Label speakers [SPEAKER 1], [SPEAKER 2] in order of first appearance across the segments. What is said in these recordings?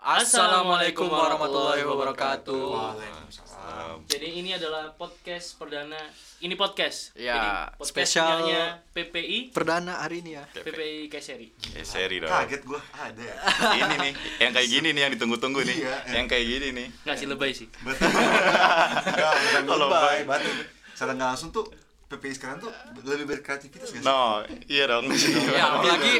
[SPEAKER 1] Assalamualaikum warahmatullahi wabarakatuh. Jadi ini adalah podcast perdana. Ini podcast.
[SPEAKER 2] Ya,
[SPEAKER 1] Ini podcast
[SPEAKER 2] spesial.
[SPEAKER 1] punyanya PPI
[SPEAKER 2] Perdana hari ini ya.
[SPEAKER 1] PPI Kayseri.
[SPEAKER 3] Eh, seri dong.
[SPEAKER 4] Kaget gue, ada ya.
[SPEAKER 3] Ini nih, yang kayak gini nih yang ditunggu-tunggu nih.
[SPEAKER 4] Iya.
[SPEAKER 3] Yang kayak gini nih.
[SPEAKER 1] Nggak sih lebay sih.
[SPEAKER 4] Berarti enggak, bukan
[SPEAKER 3] Kalau
[SPEAKER 4] lebay,
[SPEAKER 3] baik.
[SPEAKER 4] berarti secara nggak langsung tuh PPI sekarang tuh lebih berkreativitas gak sih?
[SPEAKER 3] No, iya dong. Iya,
[SPEAKER 2] Ya, apalagi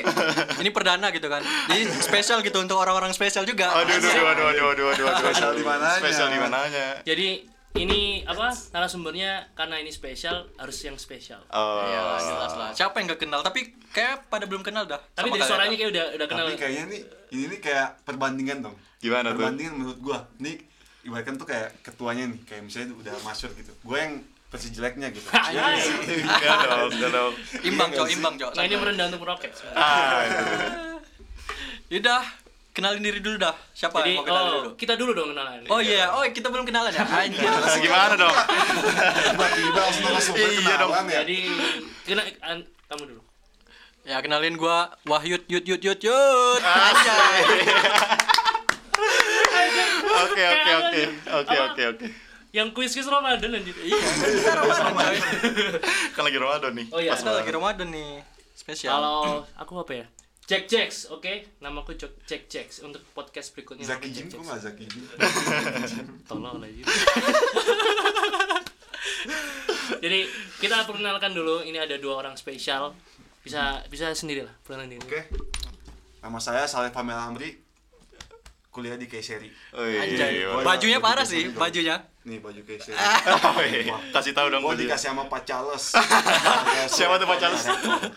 [SPEAKER 2] ini perdana gitu kan. Jadi spesial gitu untuk orang-orang spesial juga.
[SPEAKER 3] Aduh, aduh, aduh, aduh, aduh, aduh, aduh, aduh.
[SPEAKER 4] Spesial di mananya?
[SPEAKER 3] Spesial di mananya?
[SPEAKER 1] Jadi ini apa narasumbernya karena ini spesial harus yang spesial.
[SPEAKER 3] Oh,
[SPEAKER 2] Ya, jelas lah. Siapa yang gak kenal? Tapi kayak pada belum kenal dah. Sama
[SPEAKER 1] Tapi dari
[SPEAKER 2] kali
[SPEAKER 1] suaranya
[SPEAKER 2] ada.
[SPEAKER 1] kayak udah udah kenal.
[SPEAKER 4] Tapi kayaknya nih, ini nih kayak perbandingan dong.
[SPEAKER 3] Gimana tuh?
[SPEAKER 4] Perbandingan menurut gue. Nih, ibaratkan tuh kayak ketuanya nih, kayak misalnya udah masyur gitu. Gue yang versi jeleknya gitu. Iya nggak sih?
[SPEAKER 3] enggak dong, enggak dong.
[SPEAKER 2] imbang, Cok,
[SPEAKER 4] Iya nggak sih?
[SPEAKER 2] imbang, Cok.
[SPEAKER 1] Nah ini merendah untuk meroket. sebenarnya.
[SPEAKER 3] Ah, itu tuh.
[SPEAKER 2] Udah, kenalin diri dulu dah. Siapa
[SPEAKER 1] Jadi
[SPEAKER 2] yang mau kenalin
[SPEAKER 1] oh
[SPEAKER 2] dulu?
[SPEAKER 1] kita dulu dong kenalan.
[SPEAKER 2] Oh iya, oh kita belum kenalan ya. Anjir.
[SPEAKER 3] Nah, gimana dong?
[SPEAKER 4] Tiba-tiba langsung langsung
[SPEAKER 3] Iya dong.
[SPEAKER 4] berkenalan ya.
[SPEAKER 1] Jadi kena an- kamu dulu.
[SPEAKER 2] Ya kenalin gua Wahyut Yut Yut Yut Yut. Anjay.
[SPEAKER 3] Oke, oke, oke. Oke,
[SPEAKER 1] Apa?
[SPEAKER 3] oke, oke.
[SPEAKER 1] Yang kuis kuis Ramadan lanjut.
[SPEAKER 2] Iya, kita Ramadan, coy.
[SPEAKER 3] Kan lagi Ramadan nih.
[SPEAKER 1] Oh iya.
[SPEAKER 3] Pas
[SPEAKER 2] Kita lagi
[SPEAKER 3] banget.
[SPEAKER 2] Ramadan nih. Spesial.
[SPEAKER 1] Kalau aku apa ya? Jack Jacks, oke? Namaku Jack Jack Jacks untuk podcast berikutnya. namaku
[SPEAKER 4] Zaki Jim,
[SPEAKER 1] Jack
[SPEAKER 4] kok
[SPEAKER 1] Jacks.
[SPEAKER 4] nggak Zaki Jim?
[SPEAKER 1] Tolong lah Jim. Jadi kita perkenalkan dulu ini ada dua orang spesial. Bisa bisa sendiri lah, perkenalan diri.
[SPEAKER 4] Oke. Nama saya Saleh Pamela Amri, kuliah di Kayseri.
[SPEAKER 3] Oh, iya,
[SPEAKER 2] Anjay.
[SPEAKER 3] iya.
[SPEAKER 4] Boleh.
[SPEAKER 2] Bajunya
[SPEAKER 4] Baju
[SPEAKER 2] parah
[SPEAKER 4] Kayseri
[SPEAKER 2] sih,
[SPEAKER 4] dong.
[SPEAKER 2] bajunya.
[SPEAKER 4] Nih baju Kayseri.
[SPEAKER 3] Oh, iya. Kasih tahu dong.
[SPEAKER 4] Gue
[SPEAKER 3] tadi.
[SPEAKER 4] dikasih sama Pak Charles. Iya,
[SPEAKER 3] Siapa tuh Pak Charles?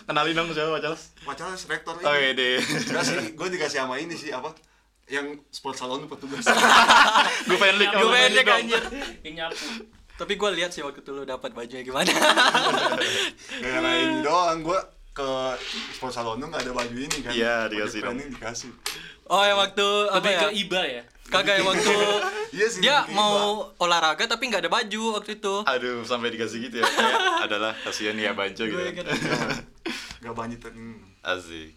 [SPEAKER 3] Kenalin dong siapa Pak Charles?
[SPEAKER 4] Pak Charles rektor ini.
[SPEAKER 3] Oh, iya, deh.
[SPEAKER 4] Enggak sih, gue dikasih sama ini sih apa? Yang sport salon petugas.
[SPEAKER 3] Gue pengen lihat
[SPEAKER 2] Gue pendek anjir.
[SPEAKER 1] Yang nyapu.
[SPEAKER 2] Tapi gua lihat sih waktu itu lu dapat bajunya gimana.
[SPEAKER 4] Gara-gara ini doang gue ke sport salonnya nggak ada baju ini kan?
[SPEAKER 3] Iya, dikasih
[SPEAKER 4] Pakai
[SPEAKER 3] dong.
[SPEAKER 4] planning dikasih.
[SPEAKER 2] Oh, yang waktu apa
[SPEAKER 1] Lebih
[SPEAKER 2] ya?
[SPEAKER 1] ke iba ya.
[SPEAKER 2] Kagak yang waktu
[SPEAKER 4] Iya sih,
[SPEAKER 2] dia
[SPEAKER 4] lebih ke
[SPEAKER 2] mau olahraga tapi nggak ada baju waktu itu.
[SPEAKER 3] Aduh, sampai dikasih gitu ya. Kayak adalah kasihan ya banjo gitu.
[SPEAKER 2] Gue ingat.
[SPEAKER 4] Gak banyak hmm.
[SPEAKER 3] Asik.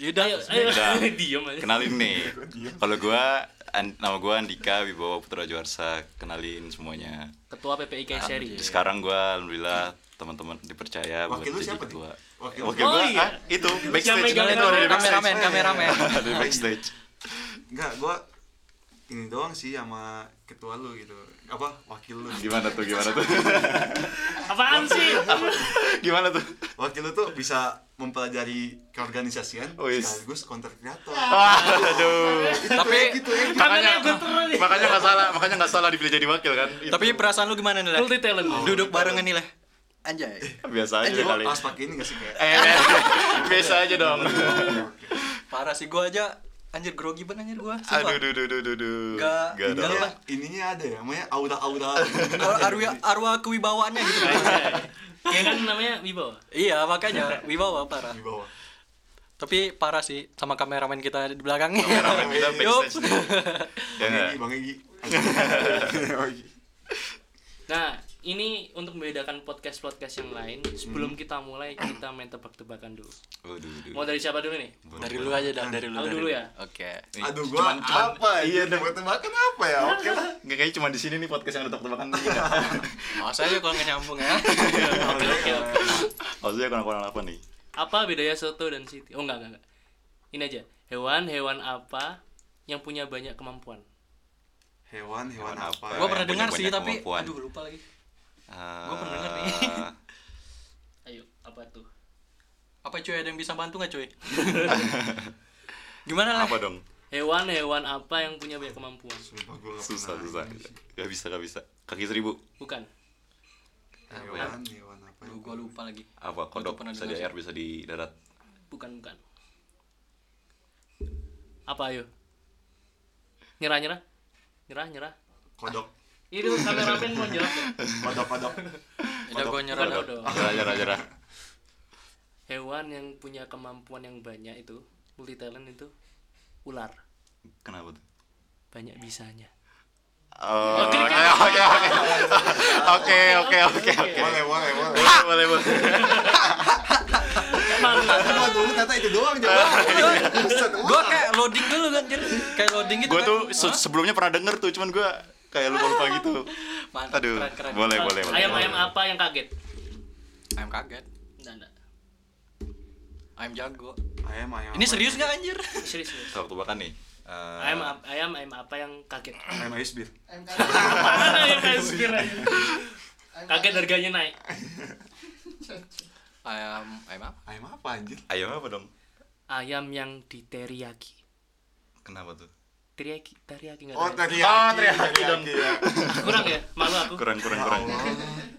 [SPEAKER 2] Yaudah,
[SPEAKER 1] Ayo, ayo.
[SPEAKER 3] Udah.
[SPEAKER 1] Diem aja.
[SPEAKER 3] Kenalin nih. Kalau gua An- nama gua Andika Wibowo Putra Juarsa. Kenalin semuanya.
[SPEAKER 1] Ketua PPI Kayseri.
[SPEAKER 3] Sekarang gua alhamdulillah teman-teman dipercaya buat
[SPEAKER 4] Wakil lu
[SPEAKER 3] jadi
[SPEAKER 4] siapa,
[SPEAKER 3] ketua.
[SPEAKER 4] Dik? Wakil lu
[SPEAKER 3] Wakil
[SPEAKER 1] siapa?
[SPEAKER 3] gua
[SPEAKER 1] Oh, iya.
[SPEAKER 3] ah, itu
[SPEAKER 1] Yang
[SPEAKER 3] backstage
[SPEAKER 1] megang
[SPEAKER 3] itu ada di backstage.
[SPEAKER 2] kameramen, kameramen.
[SPEAKER 3] Ada di backstage.
[SPEAKER 4] Enggak, gue ini doang sih sama ketua lu gitu. Apa wakil lu?
[SPEAKER 3] Gimana tuh? Gimana tuh?
[SPEAKER 1] Apaan sih?
[SPEAKER 3] gimana tuh?
[SPEAKER 4] Wakil lu tuh bisa mempelajari keorganisasian
[SPEAKER 3] Oh, yes.
[SPEAKER 4] sekaligus konten kreator.
[SPEAKER 3] Wah, aduh.
[SPEAKER 2] tapi
[SPEAKER 4] gitu ya. gitu.
[SPEAKER 1] Tangannya
[SPEAKER 3] Makanya
[SPEAKER 1] gue terus nih.
[SPEAKER 3] makanya nggak salah, makanya nggak salah dipilih jadi wakil kan. Itu.
[SPEAKER 2] tapi perasaan lu gimana nih? Leh?
[SPEAKER 1] Multi talent.
[SPEAKER 2] Duduk barengan nih, Leh. Anjay.
[SPEAKER 3] biasa aja
[SPEAKER 4] Lu
[SPEAKER 3] Iya kali.
[SPEAKER 4] harus pakai ini gak sih kayak?
[SPEAKER 3] Eh, biasa aja dong.
[SPEAKER 2] Parah sih gua aja anjir grogi banget anjir gua.
[SPEAKER 3] Aduh,
[SPEAKER 2] sumpah.
[SPEAKER 3] duh, duh, duh, duh, duh.
[SPEAKER 2] Nggak,
[SPEAKER 3] Nggak
[SPEAKER 2] nggak
[SPEAKER 3] dong.
[SPEAKER 2] lah.
[SPEAKER 4] Ininya, ininya ada ya, namanya aura-aura.
[SPEAKER 2] Ar- Arwah arwah kewibawaannya gitu.
[SPEAKER 1] Ya kan namanya Wibowo.
[SPEAKER 2] iya, makanya wibawa parah.
[SPEAKER 4] di bawah.
[SPEAKER 2] Tapi parah sih sama kameramen kita di belakangnya.
[SPEAKER 3] Kameramen kita backstage nih. Ya
[SPEAKER 4] Bang
[SPEAKER 3] nggak?
[SPEAKER 4] Egi, Bang Egi.
[SPEAKER 1] Nah, ini untuk membedakan podcast-podcast yang lain, sebelum kita mulai kita main tebak-tebakan dulu.
[SPEAKER 3] Waduh, duh.
[SPEAKER 1] Mau dari siapa dulu nih?
[SPEAKER 2] Dari lu aja dah, dari lu.
[SPEAKER 1] Aku
[SPEAKER 2] dari
[SPEAKER 1] dulu
[SPEAKER 2] lu.
[SPEAKER 1] ya?
[SPEAKER 2] Oke. Iya,
[SPEAKER 3] Nih,
[SPEAKER 4] Aduh, gua apa ya? Iya, buat tembakan apa ya? Oke lah.
[SPEAKER 3] Nggak kayaknya cuma di sini nih podcast yang ada tebak-tebakan nih. nggak?
[SPEAKER 2] Masa aja kalau nggak nyambung ya.
[SPEAKER 1] Oke, oke.
[SPEAKER 3] Maksudnya kurang-kurang apa nih?
[SPEAKER 1] Apa bedanya soto dan city? Oh, enggak, enggak, enggak. Ini aja. Hewan-hewan apa yang punya banyak kemampuan?
[SPEAKER 4] Hewan,
[SPEAKER 3] Hewan
[SPEAKER 4] hewan apa? ya?
[SPEAKER 3] apa?
[SPEAKER 2] ya? gua pernah
[SPEAKER 3] Banyak-
[SPEAKER 2] dengar sih
[SPEAKER 3] banyak
[SPEAKER 2] tapi
[SPEAKER 3] kemampuan.
[SPEAKER 2] aduh lupa lagi.
[SPEAKER 3] Gue
[SPEAKER 2] pernah denger nih.
[SPEAKER 1] Ayo, apa tuh?
[SPEAKER 2] Apa cuy ada yang bisa bantu nggak cuy? Gimana lah?
[SPEAKER 3] Ah, Apa dong?
[SPEAKER 1] Hewan-hewan apa yang punya banyak kemampuan?
[SPEAKER 4] Sumpah gua nggak
[SPEAKER 3] Susah, susah.
[SPEAKER 4] pernah.
[SPEAKER 3] Gak bisa, gak bisa. Kaki seribu.
[SPEAKER 1] Bukan.
[SPEAKER 4] Hewan, hewan apa? ya?
[SPEAKER 2] Aduh, gua lupa lagi. Gua tuh
[SPEAKER 3] Apa? Kodok.
[SPEAKER 2] pernah
[SPEAKER 3] Bisa di
[SPEAKER 2] dengar
[SPEAKER 3] air, bisa di darat.
[SPEAKER 1] Bukan, bukan. Apa ayo? Nyerah, nyerah. Nyerah, nyerah.
[SPEAKER 4] Kodok,
[SPEAKER 1] Itu kameramen mau jawab. ya?
[SPEAKER 4] kodok, kodok.
[SPEAKER 2] Udah gua nyerah
[SPEAKER 1] Bukan
[SPEAKER 2] dah.
[SPEAKER 1] kodok.
[SPEAKER 3] Jarah, jarah, jarah.
[SPEAKER 1] hewan yang punya kemampuan yang banyak itu multi talent itu ular
[SPEAKER 3] Kenapa tuh?
[SPEAKER 1] banyak bisanya
[SPEAKER 3] Oh, Oke, oke, oke. Oke, oke, oke, oke.
[SPEAKER 4] Boleh, boleh, boleh.
[SPEAKER 3] Boleh, boleh, boleh.
[SPEAKER 1] semangat.
[SPEAKER 4] Gua dulu ternyata itu doang jawabannya. Buset,
[SPEAKER 2] Gua kayak loading dulu kan, anjir. Kayak loading gitu.
[SPEAKER 3] gue
[SPEAKER 2] kan.
[SPEAKER 3] tuh se-
[SPEAKER 2] Hah?
[SPEAKER 3] sebelumnya pernah denger tuh cuman gue kayak lupa lupa gitu
[SPEAKER 2] Mantap,
[SPEAKER 3] aduh
[SPEAKER 2] keren, keren.
[SPEAKER 3] boleh boleh boleh
[SPEAKER 1] Ayam ayam apa yang kaget?
[SPEAKER 2] Ayam kaget.
[SPEAKER 1] Nggak, nggak.
[SPEAKER 2] Ayam jago.
[SPEAKER 4] Ayam, ayam.
[SPEAKER 2] Ini serius gak anjir?
[SPEAKER 1] Serius. serius.
[SPEAKER 3] waktu makan nih Eh,
[SPEAKER 1] Ayam ap- ayam ayam apa yang kaget?
[SPEAKER 4] Ayam ayam bir.
[SPEAKER 5] MK
[SPEAKER 1] Apaan ayam ayam sendiri? Kaget harganya naik.
[SPEAKER 2] Ayam ayam apa?
[SPEAKER 4] Ayam apa anjir?
[SPEAKER 3] ayam apa dong
[SPEAKER 1] Ayam yang di teriyaki.
[SPEAKER 3] kenapa tuh
[SPEAKER 1] Teriyaki, teriyaki enggak
[SPEAKER 4] Oh,
[SPEAKER 1] tahu ya.
[SPEAKER 4] teriyaki.
[SPEAKER 3] Oh, teriyaki dong.
[SPEAKER 4] Teriyaki, ya.
[SPEAKER 1] Kurang ya? Malu aku.
[SPEAKER 3] kurang kurang kurang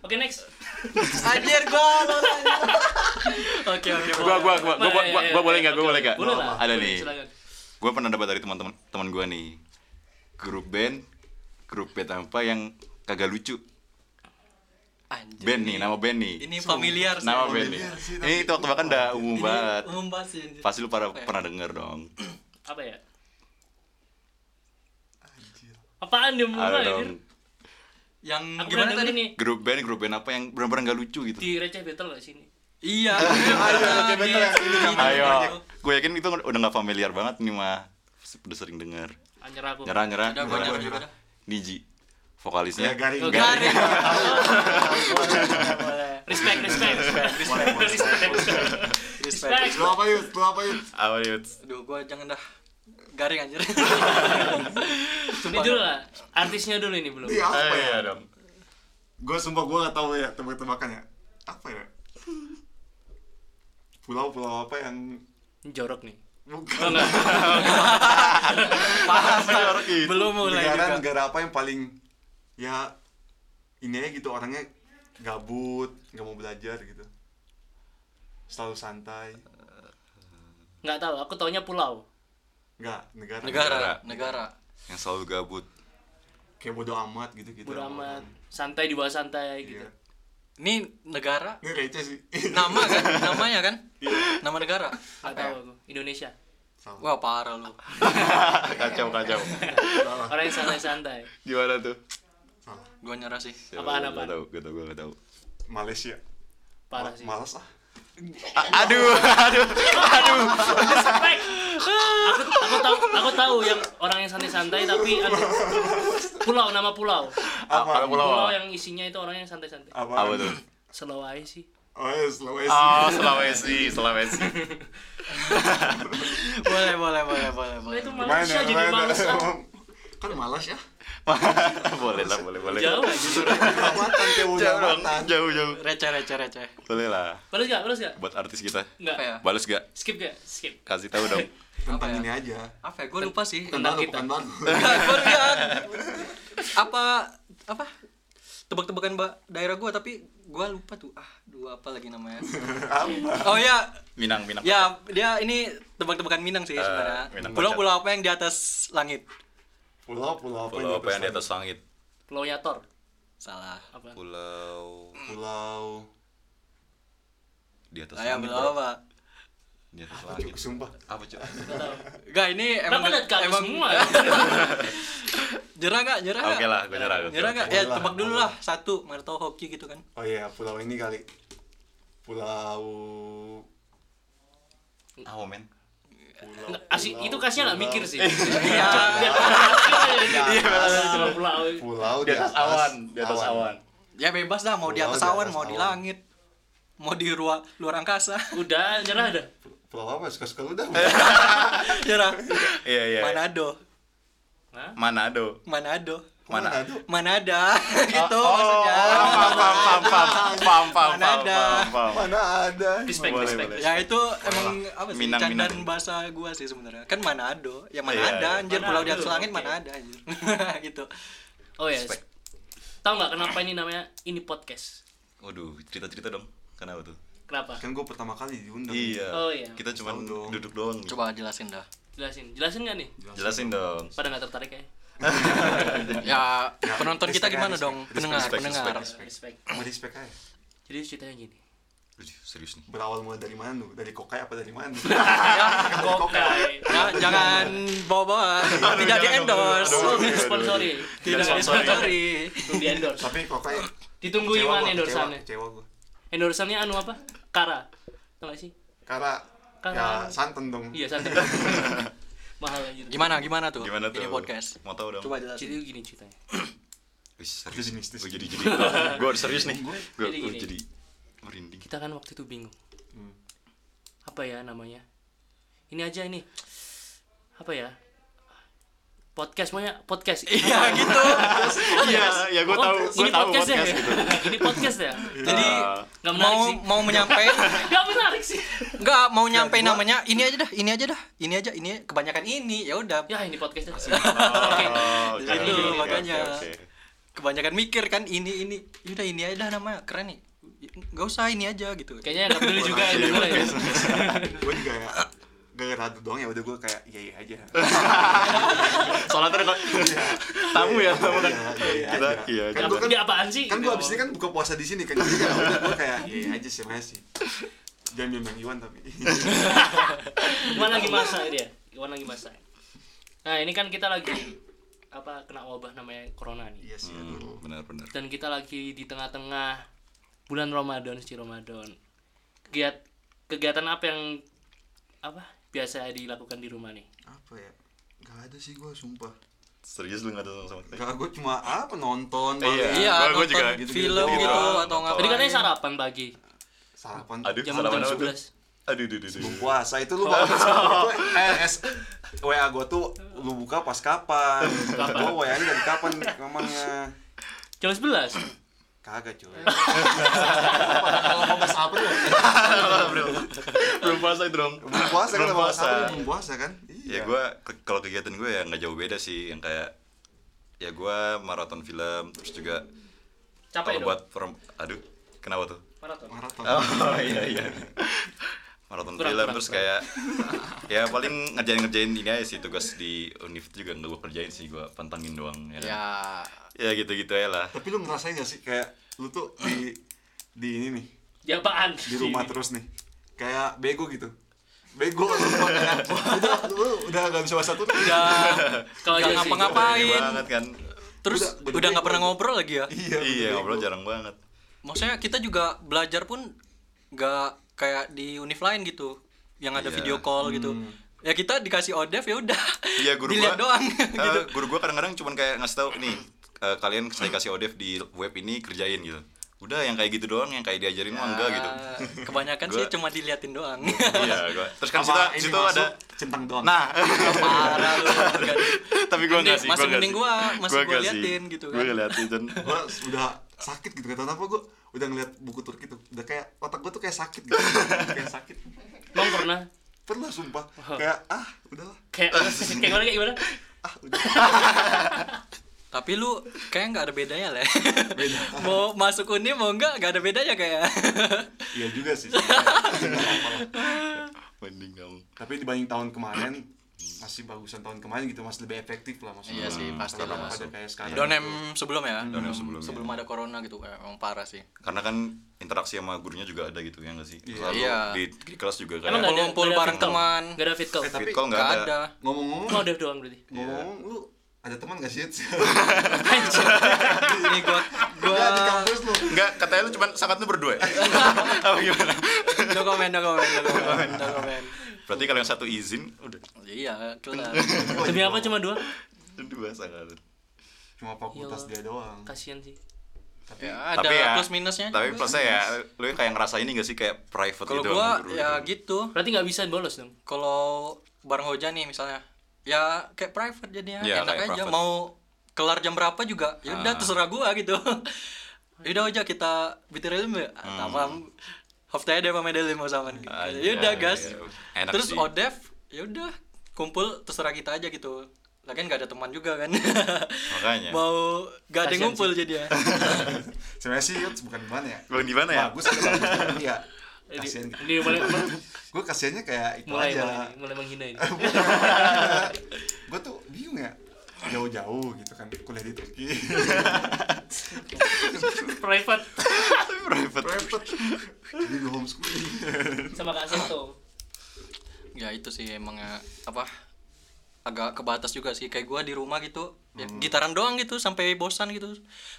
[SPEAKER 1] Oke, next.
[SPEAKER 2] Anjir gua lola, anjir.
[SPEAKER 1] Oke, oke.
[SPEAKER 3] Gua- gua- gua- gua-
[SPEAKER 1] ya,
[SPEAKER 3] gua- gua boleh nggak? Gua boleh nggak? Oh,
[SPEAKER 1] Boleh lah.
[SPEAKER 3] Ada
[SPEAKER 1] Boleh,
[SPEAKER 3] nih.
[SPEAKER 1] silakan.
[SPEAKER 3] gue pernah dapat dari teman-teman teman gue nih grup band grup band apa yang kagak lucu
[SPEAKER 2] Anjir.
[SPEAKER 3] band nih nama band nih
[SPEAKER 2] Ini familiar sih.
[SPEAKER 3] nama band
[SPEAKER 4] Familiar
[SPEAKER 3] nih
[SPEAKER 4] sih, tapi-
[SPEAKER 3] ini itu waktu makan udah umum
[SPEAKER 2] Ini
[SPEAKER 3] banget
[SPEAKER 2] Umum banget sih. anjir.
[SPEAKER 3] pasti lu para,
[SPEAKER 2] Oke.
[SPEAKER 3] pernah denger dong
[SPEAKER 1] Apa ya?
[SPEAKER 4] Anjir.
[SPEAKER 1] Apaan dia
[SPEAKER 3] ada
[SPEAKER 1] mulai?
[SPEAKER 3] dong
[SPEAKER 1] anjir?
[SPEAKER 2] Yang
[SPEAKER 1] Aku
[SPEAKER 2] gimana tadi?
[SPEAKER 1] pernah denger nih
[SPEAKER 3] grup band grup band apa yang benar-benar gak lucu gitu
[SPEAKER 1] di receh battle nggak sini?
[SPEAKER 2] Iya.
[SPEAKER 4] oke, betul, yang ini namanya.
[SPEAKER 3] ayo gue yakin itu udah gak familiar banget nih mah udah sering denger
[SPEAKER 1] Anjir aku.
[SPEAKER 3] nyerah nyerah
[SPEAKER 2] Udah gua
[SPEAKER 3] nyerah.
[SPEAKER 2] nyerah, nyerah.
[SPEAKER 3] Niji vokalisnya
[SPEAKER 4] Garing.
[SPEAKER 1] Oh,
[SPEAKER 4] Garing.
[SPEAKER 2] Garing.
[SPEAKER 1] Respect, respect, respect.
[SPEAKER 4] Boleh, boleh,
[SPEAKER 1] Respect.
[SPEAKER 2] Respect.
[SPEAKER 4] Lu apa yuk? Lu apa yuk?
[SPEAKER 3] apa nih Uts?
[SPEAKER 2] Aduh, gua jangan dah garing anjir.
[SPEAKER 1] Ini dulu lah, artisnya dulu ini belum.
[SPEAKER 4] Ini apa
[SPEAKER 3] Eh,
[SPEAKER 4] ya?
[SPEAKER 3] iya dong
[SPEAKER 4] Gue sumpah gue gak tau ya tebak-tebakan ya. Apa ya? Pulau-pulau apa yang
[SPEAKER 1] Ini jorok nih. Oh,
[SPEAKER 4] bukan
[SPEAKER 1] enggak.
[SPEAKER 3] Jorok gitu.
[SPEAKER 2] Belum mulai
[SPEAKER 4] negara
[SPEAKER 2] juga.
[SPEAKER 4] negara apa yang paling ya ini aja gitu orangnya gabut nggak mau belajar gitu selalu santai
[SPEAKER 1] Enggak tahu, aku taunya pulau.
[SPEAKER 4] nggak negara
[SPEAKER 2] Negara, negara.
[SPEAKER 3] yang selalu gabut
[SPEAKER 4] kayak bodo amat gitu gitu
[SPEAKER 1] Bodo amat, santai di bawah santai
[SPEAKER 4] Iya.
[SPEAKER 1] gitu.
[SPEAKER 2] Ini negara
[SPEAKER 4] ini receh sih
[SPEAKER 2] nama kan namanya kan nama negara
[SPEAKER 1] Enggak tahu aku. Indonesia.
[SPEAKER 4] Salah.
[SPEAKER 2] wah parah lu
[SPEAKER 3] kacau kacau
[SPEAKER 4] salah
[SPEAKER 1] Orang yang santai-santai.
[SPEAKER 3] gimana tuh
[SPEAKER 4] salah
[SPEAKER 2] gua nyerah sih
[SPEAKER 1] Apaan,
[SPEAKER 3] Gak
[SPEAKER 1] apaan?
[SPEAKER 3] tau, gak tau, gue gak tau
[SPEAKER 4] Malaysia
[SPEAKER 1] Parah
[SPEAKER 4] Ma-
[SPEAKER 1] sih.
[SPEAKER 4] malas ah
[SPEAKER 3] A- Aduh, aduh
[SPEAKER 1] Respect. Aku aku tahu, aku tahu yang orang yang santai-santai tapi anu, pulau nama pulau.
[SPEAKER 3] Apa
[SPEAKER 4] Oh.
[SPEAKER 1] Pulau
[SPEAKER 3] pulau?
[SPEAKER 1] yang isinya itu orang yang santai-santai.
[SPEAKER 4] apa
[SPEAKER 3] Apa tuh?
[SPEAKER 1] Selawai sih.
[SPEAKER 4] oh ya Sulawesi
[SPEAKER 3] Oh, Sulawesi, Sulawesi
[SPEAKER 2] boleh boleh boleh boleh
[SPEAKER 1] Nah,
[SPEAKER 2] boleh
[SPEAKER 1] itu
[SPEAKER 4] Gimana,
[SPEAKER 1] Malaysia jadi
[SPEAKER 4] gimana?
[SPEAKER 1] Malaysia.
[SPEAKER 4] kan malas ya
[SPEAKER 3] Boleh lah, boleh, boleh
[SPEAKER 1] Jauh aja.
[SPEAKER 4] amatan kayak bodo
[SPEAKER 3] Jauh dong,
[SPEAKER 4] amatan
[SPEAKER 3] jauh, jauh
[SPEAKER 2] receh receh receh
[SPEAKER 3] Boleh lah,
[SPEAKER 1] Balas gak? Balas gak?
[SPEAKER 3] buat artis kita
[SPEAKER 1] Enggak.
[SPEAKER 2] Apa ya?
[SPEAKER 3] Balas gak?
[SPEAKER 1] Skip gak? Skip.
[SPEAKER 3] Kasih tahu dong
[SPEAKER 4] tentang
[SPEAKER 2] Apa ya?
[SPEAKER 4] ini aja
[SPEAKER 2] apa ya? gua lupa sih
[SPEAKER 4] bukan
[SPEAKER 1] Tentang
[SPEAKER 4] baru
[SPEAKER 1] kita.
[SPEAKER 4] bukan baru
[SPEAKER 2] Enggak, gua lihat apa apa tebak-tebakan mbak daerah gua tapi gua lupa tuh ah dua apa lagi namanya oh ya
[SPEAKER 3] Minang, Minang
[SPEAKER 2] ya dia ini tebak-tebakan Minang sih
[SPEAKER 3] Eh,
[SPEAKER 2] sebenarnya
[SPEAKER 3] Minang
[SPEAKER 2] pulau-pulau apa yang di atas langit
[SPEAKER 4] pulau-pulau apa
[SPEAKER 3] Pulau apa yang di atas langit?
[SPEAKER 1] Pulau Yator.
[SPEAKER 2] salah
[SPEAKER 1] Apa?
[SPEAKER 3] Pulau
[SPEAKER 4] pulau
[SPEAKER 3] di atas
[SPEAKER 2] saya
[SPEAKER 3] langit.
[SPEAKER 2] pulau
[SPEAKER 3] bro.
[SPEAKER 2] apa
[SPEAKER 3] Di atas langit.
[SPEAKER 4] Cuk, sumpah
[SPEAKER 3] Apa cuy?
[SPEAKER 2] Enggak, ini emang
[SPEAKER 1] Kenapa lihat ke aku
[SPEAKER 2] emang
[SPEAKER 1] semua?
[SPEAKER 2] Jerah gak? Jerah
[SPEAKER 3] Oke lah, gue nyerah, gue
[SPEAKER 2] Nyerah
[SPEAKER 3] nyerah.
[SPEAKER 2] gak? Ya
[SPEAKER 4] Boleh lah,
[SPEAKER 2] tebak dulu
[SPEAKER 4] boleh.
[SPEAKER 2] lah satu, mana tau hoki gitu kan.
[SPEAKER 4] Oh iya, pulau ini kali. Pulau
[SPEAKER 3] Apa men?
[SPEAKER 4] pulau.
[SPEAKER 1] Nggak, asik, itu kasnya nggak mikir sih.
[SPEAKER 2] Iya.
[SPEAKER 1] Iya, cuma pulau.
[SPEAKER 4] Pulau
[SPEAKER 3] Di atas awan, di atas awan.
[SPEAKER 2] Ya bebas dah mau di
[SPEAKER 4] Pulau
[SPEAKER 2] atas
[SPEAKER 4] di
[SPEAKER 2] awan,
[SPEAKER 4] atas
[SPEAKER 2] mau di
[SPEAKER 4] awan.
[SPEAKER 2] langit, mau di ruang luar angkasa.
[SPEAKER 1] Udah, nyerah dah.
[SPEAKER 4] Pulau apa? Suka-suka lu dah.
[SPEAKER 2] Nyerah.
[SPEAKER 3] Iya, iya.
[SPEAKER 2] Manado.
[SPEAKER 1] Hah?
[SPEAKER 3] Manado.
[SPEAKER 2] Manado.
[SPEAKER 3] Mana?
[SPEAKER 4] Aduh.
[SPEAKER 2] Manada gitu
[SPEAKER 3] Oh,
[SPEAKER 2] maksudnya.
[SPEAKER 3] pam pam pam pam pam pam
[SPEAKER 2] Mana
[SPEAKER 3] pam
[SPEAKER 2] ada?
[SPEAKER 3] pam pam.
[SPEAKER 4] Mana ada?
[SPEAKER 1] Respect,
[SPEAKER 3] Boleh,
[SPEAKER 1] respect.
[SPEAKER 3] boleh.
[SPEAKER 2] Ya itu emang apa sih
[SPEAKER 3] Minang,
[SPEAKER 2] candaan
[SPEAKER 3] Minang.
[SPEAKER 2] bahasa gua sih sebenarnya. Kan Manado. Ya mana
[SPEAKER 3] Iya,
[SPEAKER 2] ada
[SPEAKER 3] iya.
[SPEAKER 2] anjir pulau di atas
[SPEAKER 1] Manado,
[SPEAKER 2] langit
[SPEAKER 1] oke.
[SPEAKER 2] mana ada anjir. gitu.
[SPEAKER 1] Oh ya.
[SPEAKER 3] Respect.
[SPEAKER 1] Tahu nggak kenapa ini namanya ini podcast?
[SPEAKER 3] Waduh, cerita-cerita dong. Kenapa tuh?
[SPEAKER 1] Kenapa?
[SPEAKER 4] Kan gue pertama kali diundang.
[SPEAKER 3] Iya.
[SPEAKER 1] Oh, iya.
[SPEAKER 3] Kita cuma
[SPEAKER 4] Tahu dong.
[SPEAKER 3] duduk doang. nih.
[SPEAKER 2] Coba jelasin dah.
[SPEAKER 1] Jelasin. Jelasin nggak nih?
[SPEAKER 3] Jelasin dong.
[SPEAKER 1] Pada nggak tertarik ya?
[SPEAKER 2] Ya
[SPEAKER 3] Nah,
[SPEAKER 2] penonton kita
[SPEAKER 4] respect,
[SPEAKER 2] gimana
[SPEAKER 4] respect.
[SPEAKER 2] dong? Pendengar,
[SPEAKER 3] respect,
[SPEAKER 2] pendengar.
[SPEAKER 3] respect.
[SPEAKER 1] Respect.
[SPEAKER 4] Sama respect aja.
[SPEAKER 1] Jadi ceritanya gini.
[SPEAKER 3] Waduh, serius nih.
[SPEAKER 4] Berawal mulai dari mana lu? Dari kokai apa dari mana?
[SPEAKER 1] Kokai.
[SPEAKER 2] Ya, jangan bawa-bawa, tidak di endorse,
[SPEAKER 1] Belum disponsori.
[SPEAKER 2] tidak di sponsori.
[SPEAKER 1] Belum di endorse.
[SPEAKER 4] Tapi kokai
[SPEAKER 1] Ditunggu
[SPEAKER 4] kecewa
[SPEAKER 1] Iwan
[SPEAKER 4] gua, kecewa,
[SPEAKER 1] endorsannya.
[SPEAKER 4] Kecewa gue.
[SPEAKER 1] Endorsannya anu apa? Kara. Tahu nggak sih?
[SPEAKER 4] Karena
[SPEAKER 1] Karena-
[SPEAKER 4] ya santen dong.
[SPEAKER 1] Iya, satu. Mahal anjir.
[SPEAKER 2] Gimana gimana tuh?
[SPEAKER 3] Gimana tuh?
[SPEAKER 2] Ini podcast.
[SPEAKER 3] Mau tahu dong?
[SPEAKER 2] Coba jelasin.
[SPEAKER 1] Jadi gini ceritanya.
[SPEAKER 3] Wih, serius.
[SPEAKER 4] Jadi mistis.
[SPEAKER 3] Gua jadi jadi. gua- Gua serius nih. Gua
[SPEAKER 1] Jadi
[SPEAKER 3] gua
[SPEAKER 1] gini.
[SPEAKER 3] jadi merinding.
[SPEAKER 1] Kita kan waktu itu bingung.
[SPEAKER 4] Hmm.
[SPEAKER 1] Apa ya namanya? Ini aja ini. Apa ya? Podcast maunya podcast.
[SPEAKER 2] Iya gitu.
[SPEAKER 3] Iya, ya gua tahu. Gua
[SPEAKER 1] ini podcast,
[SPEAKER 3] tahu podcast
[SPEAKER 1] ya.
[SPEAKER 3] gitu.
[SPEAKER 1] ini podcast ya.
[SPEAKER 2] Jadi
[SPEAKER 1] Gak menarik
[SPEAKER 2] mau
[SPEAKER 1] sih.
[SPEAKER 2] mau menyampai
[SPEAKER 1] Gak menarik sih.
[SPEAKER 2] Enggak mau nyampe namanya ini aja dah, ini aja dah, ini aja, ini kebanyakan ini ya udah.
[SPEAKER 3] Oh,
[SPEAKER 1] Ya ini podcast deh.
[SPEAKER 3] Oke. gitu,
[SPEAKER 2] Jadi
[SPEAKER 1] itu,
[SPEAKER 2] makanya. Kebanyakan mikir kan ini ini, udah ini aja dah namanya keren nih. Enggak usah ini aja gitu.
[SPEAKER 1] Kayaknya yang gak peduli juga yang
[SPEAKER 3] Iya,
[SPEAKER 1] denger ya.
[SPEAKER 4] gue juga ya gara-gara itu doang ya udah gue kayak iya iya aja.
[SPEAKER 3] Soalnya ntar kalau- tamu ya, tamu kan.
[SPEAKER 4] Iya, iya
[SPEAKER 3] Kita
[SPEAKER 4] aja.
[SPEAKER 3] iya.
[SPEAKER 4] Kan
[SPEAKER 1] Gak
[SPEAKER 4] gua
[SPEAKER 3] kita-
[SPEAKER 1] peduli apaan sih?
[SPEAKER 4] Kan gue abis ini kan buka puasa di sini kan jadi kayak udah gue kayak iya iya aja sih makasih. Jangan bilang Iwan tapi.
[SPEAKER 1] Gimana lagi masak dia? Gimana lagi masak? Nah ini kan kita lagi apa kena wabah namanya corona nih.
[SPEAKER 4] Iya sih
[SPEAKER 3] Hmm,
[SPEAKER 4] aduh.
[SPEAKER 3] Benar-benar.
[SPEAKER 1] dan kita lagi di tengah-tengah bulan Ramadan suci Ramadan kegiat kegiatan apa yang apa biasa dilakukan di rumah nih
[SPEAKER 4] Apa ya? Gak ada sih gue sumpah.
[SPEAKER 3] Serius lu enggak ada sama kita.
[SPEAKER 4] Gak gue cuma apa nonton.
[SPEAKER 3] Iya.
[SPEAKER 2] Iya,
[SPEAKER 4] paling.
[SPEAKER 3] Gua- gua
[SPEAKER 2] nonton
[SPEAKER 3] juga
[SPEAKER 4] gitu-gitu
[SPEAKER 2] film
[SPEAKER 4] doang.
[SPEAKER 2] gitu,
[SPEAKER 3] Nonton.
[SPEAKER 2] atau ngapain.
[SPEAKER 1] tadi katanya sarapan pagi
[SPEAKER 4] Sarapan.
[SPEAKER 3] Aduh,
[SPEAKER 1] jam
[SPEAKER 3] salah
[SPEAKER 1] jam
[SPEAKER 3] mana tuh?
[SPEAKER 1] 11
[SPEAKER 3] Aduh, aduh, aduh, aduh.
[SPEAKER 4] Sebelum puasa itu
[SPEAKER 1] Oh.
[SPEAKER 4] lu bangun itu RS WA gue tuh lu buka pas kapan?
[SPEAKER 1] Kapan?
[SPEAKER 4] Gue WA nya dari kapan namanya?
[SPEAKER 1] jam 11
[SPEAKER 4] Kagak cuy. Kalau mau bahas apa tuh?
[SPEAKER 3] Belum puasa itu dong.
[SPEAKER 4] Belum puasa kan
[SPEAKER 3] Belum
[SPEAKER 4] bahas
[SPEAKER 3] puasa.
[SPEAKER 4] apa tuh? Belum puasa kan?
[SPEAKER 3] Ya gue kalau kegiatan gue ya nggak jauh beda sih yang kayak ya gue maraton film terus juga
[SPEAKER 1] capek
[SPEAKER 3] kalau
[SPEAKER 1] dong
[SPEAKER 3] buat perem- aduh kenapa tuh
[SPEAKER 1] maraton
[SPEAKER 4] maraton.
[SPEAKER 3] oh iya iya maraton
[SPEAKER 1] Kurang,
[SPEAKER 3] film
[SPEAKER 1] kurang,
[SPEAKER 3] terus
[SPEAKER 1] kurang.
[SPEAKER 3] kayak ya paling ngerjain ngerjain ini aja sih tugas di univ juga nggak gue kerjain sih gue pantangin doang ya, kan?
[SPEAKER 2] Ya.
[SPEAKER 3] ya gitu gitu aja lah
[SPEAKER 4] Tapi lu ngerasain gak sih kayak lu tuh di di ini nih
[SPEAKER 1] ya apaan
[SPEAKER 4] di rumah terus nih kayak bego gitu bego lu kayak, udah lu udah gak bisa bahasa tuh
[SPEAKER 3] Iya,
[SPEAKER 2] Udah
[SPEAKER 1] kalau
[SPEAKER 2] Gak
[SPEAKER 1] aja sih
[SPEAKER 2] ngapa-ngapa.
[SPEAKER 3] Aneh
[SPEAKER 2] Ngapain?
[SPEAKER 3] banget kan
[SPEAKER 2] terus
[SPEAKER 4] Udah, udah
[SPEAKER 2] udah nggak
[SPEAKER 4] bego.
[SPEAKER 2] pernah
[SPEAKER 3] gitu.
[SPEAKER 2] ngobrol lagi ya.
[SPEAKER 4] iya
[SPEAKER 3] iya
[SPEAKER 4] bego.
[SPEAKER 3] ngobrol jarang banget
[SPEAKER 2] Maksudnya kita juga belajar pun nggak kayak di univ lain gitu, yang ada
[SPEAKER 3] Iya.
[SPEAKER 2] video call gitu. Ya kita dikasih odef ya udah.
[SPEAKER 3] Iya guru
[SPEAKER 2] Dilihat
[SPEAKER 3] gua,
[SPEAKER 2] doang
[SPEAKER 3] eh,
[SPEAKER 2] gitu.
[SPEAKER 3] guru gua kadang-kadang cuman kayak ngasih tahu nih eh, kalian saya kasih odef di web ini kerjain gitu. Udah yang kayak gitu doang yang kayak diajarin mah enggak gitu.
[SPEAKER 2] Ah, Kebanyakan sih
[SPEAKER 3] Gua-
[SPEAKER 2] cuma diliatin doang.
[SPEAKER 3] Iya gua. Terus kan
[SPEAKER 4] Sama
[SPEAKER 3] situ
[SPEAKER 4] ini
[SPEAKER 3] situ
[SPEAKER 4] masuk,
[SPEAKER 3] ada
[SPEAKER 4] centang doang
[SPEAKER 3] nah
[SPEAKER 2] Ah, Parah lu. nggak di-
[SPEAKER 3] tapi gua
[SPEAKER 2] Mending-
[SPEAKER 3] enggak sih.
[SPEAKER 2] masih
[SPEAKER 3] nggak
[SPEAKER 2] mending
[SPEAKER 3] sih.
[SPEAKER 2] gua, masih gua
[SPEAKER 3] nggak sih.
[SPEAKER 2] liatin gitu
[SPEAKER 3] Gua
[SPEAKER 2] kan.
[SPEAKER 3] nggak liatin dan
[SPEAKER 4] gue udah sakit gitu kata apa gue udah ngeliat buku Turki tuh udah kayak otak gue tuh kayak sakit gitu kayak sakit
[SPEAKER 1] emang pernah
[SPEAKER 4] pernah sumpah kayak ah udahlah
[SPEAKER 1] kayak kayak gimana kayak gimana
[SPEAKER 4] ah udah
[SPEAKER 2] Tapi lu kayak nggak ada bedanya lah. mau masuk univ mau nggak nggak ada bedanya kayak.
[SPEAKER 4] iya juga sih sebenarnya.
[SPEAKER 3] mending kamu.
[SPEAKER 4] tapi dibanding tahun kemarin masih bagusan tahun kemarin gitu masih lebih efektif lah
[SPEAKER 2] Iya
[SPEAKER 4] maksudnya
[SPEAKER 2] sih, pasti
[SPEAKER 4] Daripada
[SPEAKER 2] lah.
[SPEAKER 4] kayak sekarang
[SPEAKER 2] Donem sebelum ya.
[SPEAKER 3] Donem sebelum, ya.
[SPEAKER 2] Sebelum ada corona gitu eh, emang parah sih.
[SPEAKER 3] Karena kan interaksi sama gurunya juga ada gitu ya enggak sih?
[SPEAKER 4] Iya.
[SPEAKER 3] Selalu
[SPEAKER 2] Iya.
[SPEAKER 3] Di, di kelas juga
[SPEAKER 1] emang
[SPEAKER 3] kayak
[SPEAKER 1] nggak ada
[SPEAKER 2] Ngumpul
[SPEAKER 1] nggak ada
[SPEAKER 2] bareng
[SPEAKER 1] fit call?
[SPEAKER 2] teman.
[SPEAKER 1] nggak ada fit call
[SPEAKER 4] Eh, tapi
[SPEAKER 3] fit call enggak
[SPEAKER 2] Nggak
[SPEAKER 3] ada.
[SPEAKER 2] ada.
[SPEAKER 1] cuma
[SPEAKER 4] ngomong-ngomong
[SPEAKER 1] udah doang berarti
[SPEAKER 4] ngomong lu ada teman gak sih
[SPEAKER 2] Ini gua gua
[SPEAKER 4] Enggak, di kampus lu
[SPEAKER 3] Enggak, katanya lu cuman sangat lu berdua. ya? Apa gimana?
[SPEAKER 2] no comment, no comment, no comment, no comment.
[SPEAKER 3] Berarti kalau yang satu izin udah
[SPEAKER 2] Iya, kelar.
[SPEAKER 1] demi apa cuma dua
[SPEAKER 3] dua sangat.
[SPEAKER 4] cuma fakultas dia
[SPEAKER 1] Iya.
[SPEAKER 4] doang
[SPEAKER 1] kasihan sih
[SPEAKER 4] tapi
[SPEAKER 2] Ya, ada
[SPEAKER 3] Tapi ya-
[SPEAKER 2] plus minusnya.
[SPEAKER 3] Tapi
[SPEAKER 2] juga.
[SPEAKER 3] plusnya ya, lu yang kayak ngerasain ini gak sih kayak private
[SPEAKER 2] kalau
[SPEAKER 3] gitu
[SPEAKER 2] gua
[SPEAKER 3] sama guru
[SPEAKER 2] ya
[SPEAKER 3] gitu.
[SPEAKER 2] gitu.
[SPEAKER 1] berarti nggak bisa bolos dong
[SPEAKER 2] kalau bareng Hoja nih misalnya ya kayak private jadinya
[SPEAKER 3] Iya,
[SPEAKER 2] enak
[SPEAKER 3] kayak
[SPEAKER 2] aja
[SPEAKER 3] private. Ah.
[SPEAKER 2] mau kelar jam berapa juga ya udah terserah gua gitu yaudah Hoja kita bitiril ya tamam haftanya deh pamit deh mau sama gitu.
[SPEAKER 3] Hmm. Ah,
[SPEAKER 2] ya udah
[SPEAKER 3] iya,
[SPEAKER 2] gas
[SPEAKER 3] iya. Enak
[SPEAKER 2] terus
[SPEAKER 3] sih.
[SPEAKER 2] odef ya udah kumpul terserah kita aja gitu lagian gak ada teman juga kan
[SPEAKER 3] Makanya.
[SPEAKER 2] mau gak ada yang
[SPEAKER 1] Kasian
[SPEAKER 2] ngumpul jadinya
[SPEAKER 4] sebenarnya sih Yuts, bukan gimana
[SPEAKER 2] gitu.
[SPEAKER 4] ya
[SPEAKER 3] Bukan gimana ya?
[SPEAKER 4] bagus ada bagus tapi ya
[SPEAKER 1] ini,
[SPEAKER 4] kasihan gitu
[SPEAKER 1] ini mulai
[SPEAKER 4] gue kasihannya kayak itu
[SPEAKER 1] mulai
[SPEAKER 4] aja
[SPEAKER 1] mulai, mulai menghina ini
[SPEAKER 4] gue tuh bingung ya jauh-jauh gitu kan kuliah di Turki
[SPEAKER 1] private
[SPEAKER 3] private.
[SPEAKER 4] repot jadi gue homeschooling
[SPEAKER 1] sama kak Seto
[SPEAKER 2] ya itu sih emang ya, apa agak kebatas juga sih kayak gua di rumah gitu ya,
[SPEAKER 3] Hmm.
[SPEAKER 2] gitaran doang gitu sampai bosan gitu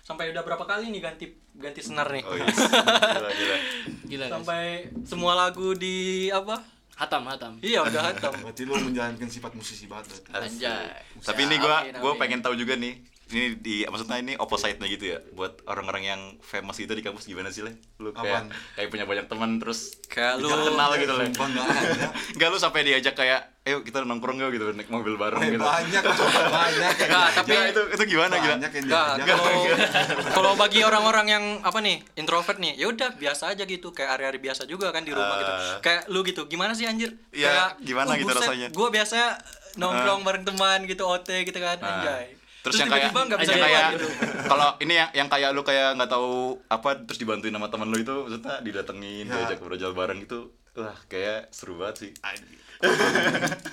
[SPEAKER 2] sampai udah berapa kali nih ganti ganti senar nih
[SPEAKER 3] Oh iya. Gila, gila.
[SPEAKER 1] Gila guys.
[SPEAKER 2] sampai semua lagu di apa
[SPEAKER 1] Hatam, hatam.
[SPEAKER 2] iya udah hatam
[SPEAKER 4] Berarti lo menjalankan sifat musisi banget. berarti.
[SPEAKER 2] Anjay.
[SPEAKER 3] Tapi ini gua
[SPEAKER 2] Amin,
[SPEAKER 3] gua
[SPEAKER 2] amin.
[SPEAKER 3] pengen tahu juga nih. Ini di maksudnya ini opposite-nya gitu ya buat orang-orang yang famous gitu di kampus gimana sih, Le? Lu kayak
[SPEAKER 4] Apaan?
[SPEAKER 3] kayak punya banyak teman terus
[SPEAKER 2] Kayak lu-
[SPEAKER 3] terkenal gitu, Le.
[SPEAKER 4] Sumpah nggak ada.
[SPEAKER 3] Enggak lu sampai diajak kayak ayo kita nongkrong gak gitu naik mobil bareng
[SPEAKER 4] Eh,
[SPEAKER 3] gitu.
[SPEAKER 4] Banyak, banyak. gitu.
[SPEAKER 2] Nggak, tapi-
[SPEAKER 3] Ya, itu itu gimana gila?
[SPEAKER 4] Banyak yang
[SPEAKER 2] Enggak,
[SPEAKER 4] diajak.
[SPEAKER 2] kalau
[SPEAKER 3] Oh.
[SPEAKER 2] kalau bagi orang-orang yang apa nih introvert nih, ya udah biasa aja gitu kayak hari-hari biasa juga kan di rumah gitu.
[SPEAKER 3] Ah.
[SPEAKER 2] Kayak lu gitu, gimana sih anjir?
[SPEAKER 3] Iya, gimana gitu rasanya?
[SPEAKER 2] Gue biasa nongkrong bareng teman gitu OT gitu kan,
[SPEAKER 3] Nah,
[SPEAKER 2] anjay.
[SPEAKER 3] Terus, yang kayak
[SPEAKER 2] tiba-tiba nggak bisa
[SPEAKER 3] yang
[SPEAKER 2] keluar
[SPEAKER 3] kayak
[SPEAKER 2] gitu.
[SPEAKER 3] kalau ini yang yang kayak lu kayak nggak tahu apa terus dibantuin sama temen lu itu maksudnya didatengin
[SPEAKER 4] Ya.
[SPEAKER 3] diajak berjalan bareng gitu wah kayak seru banget sih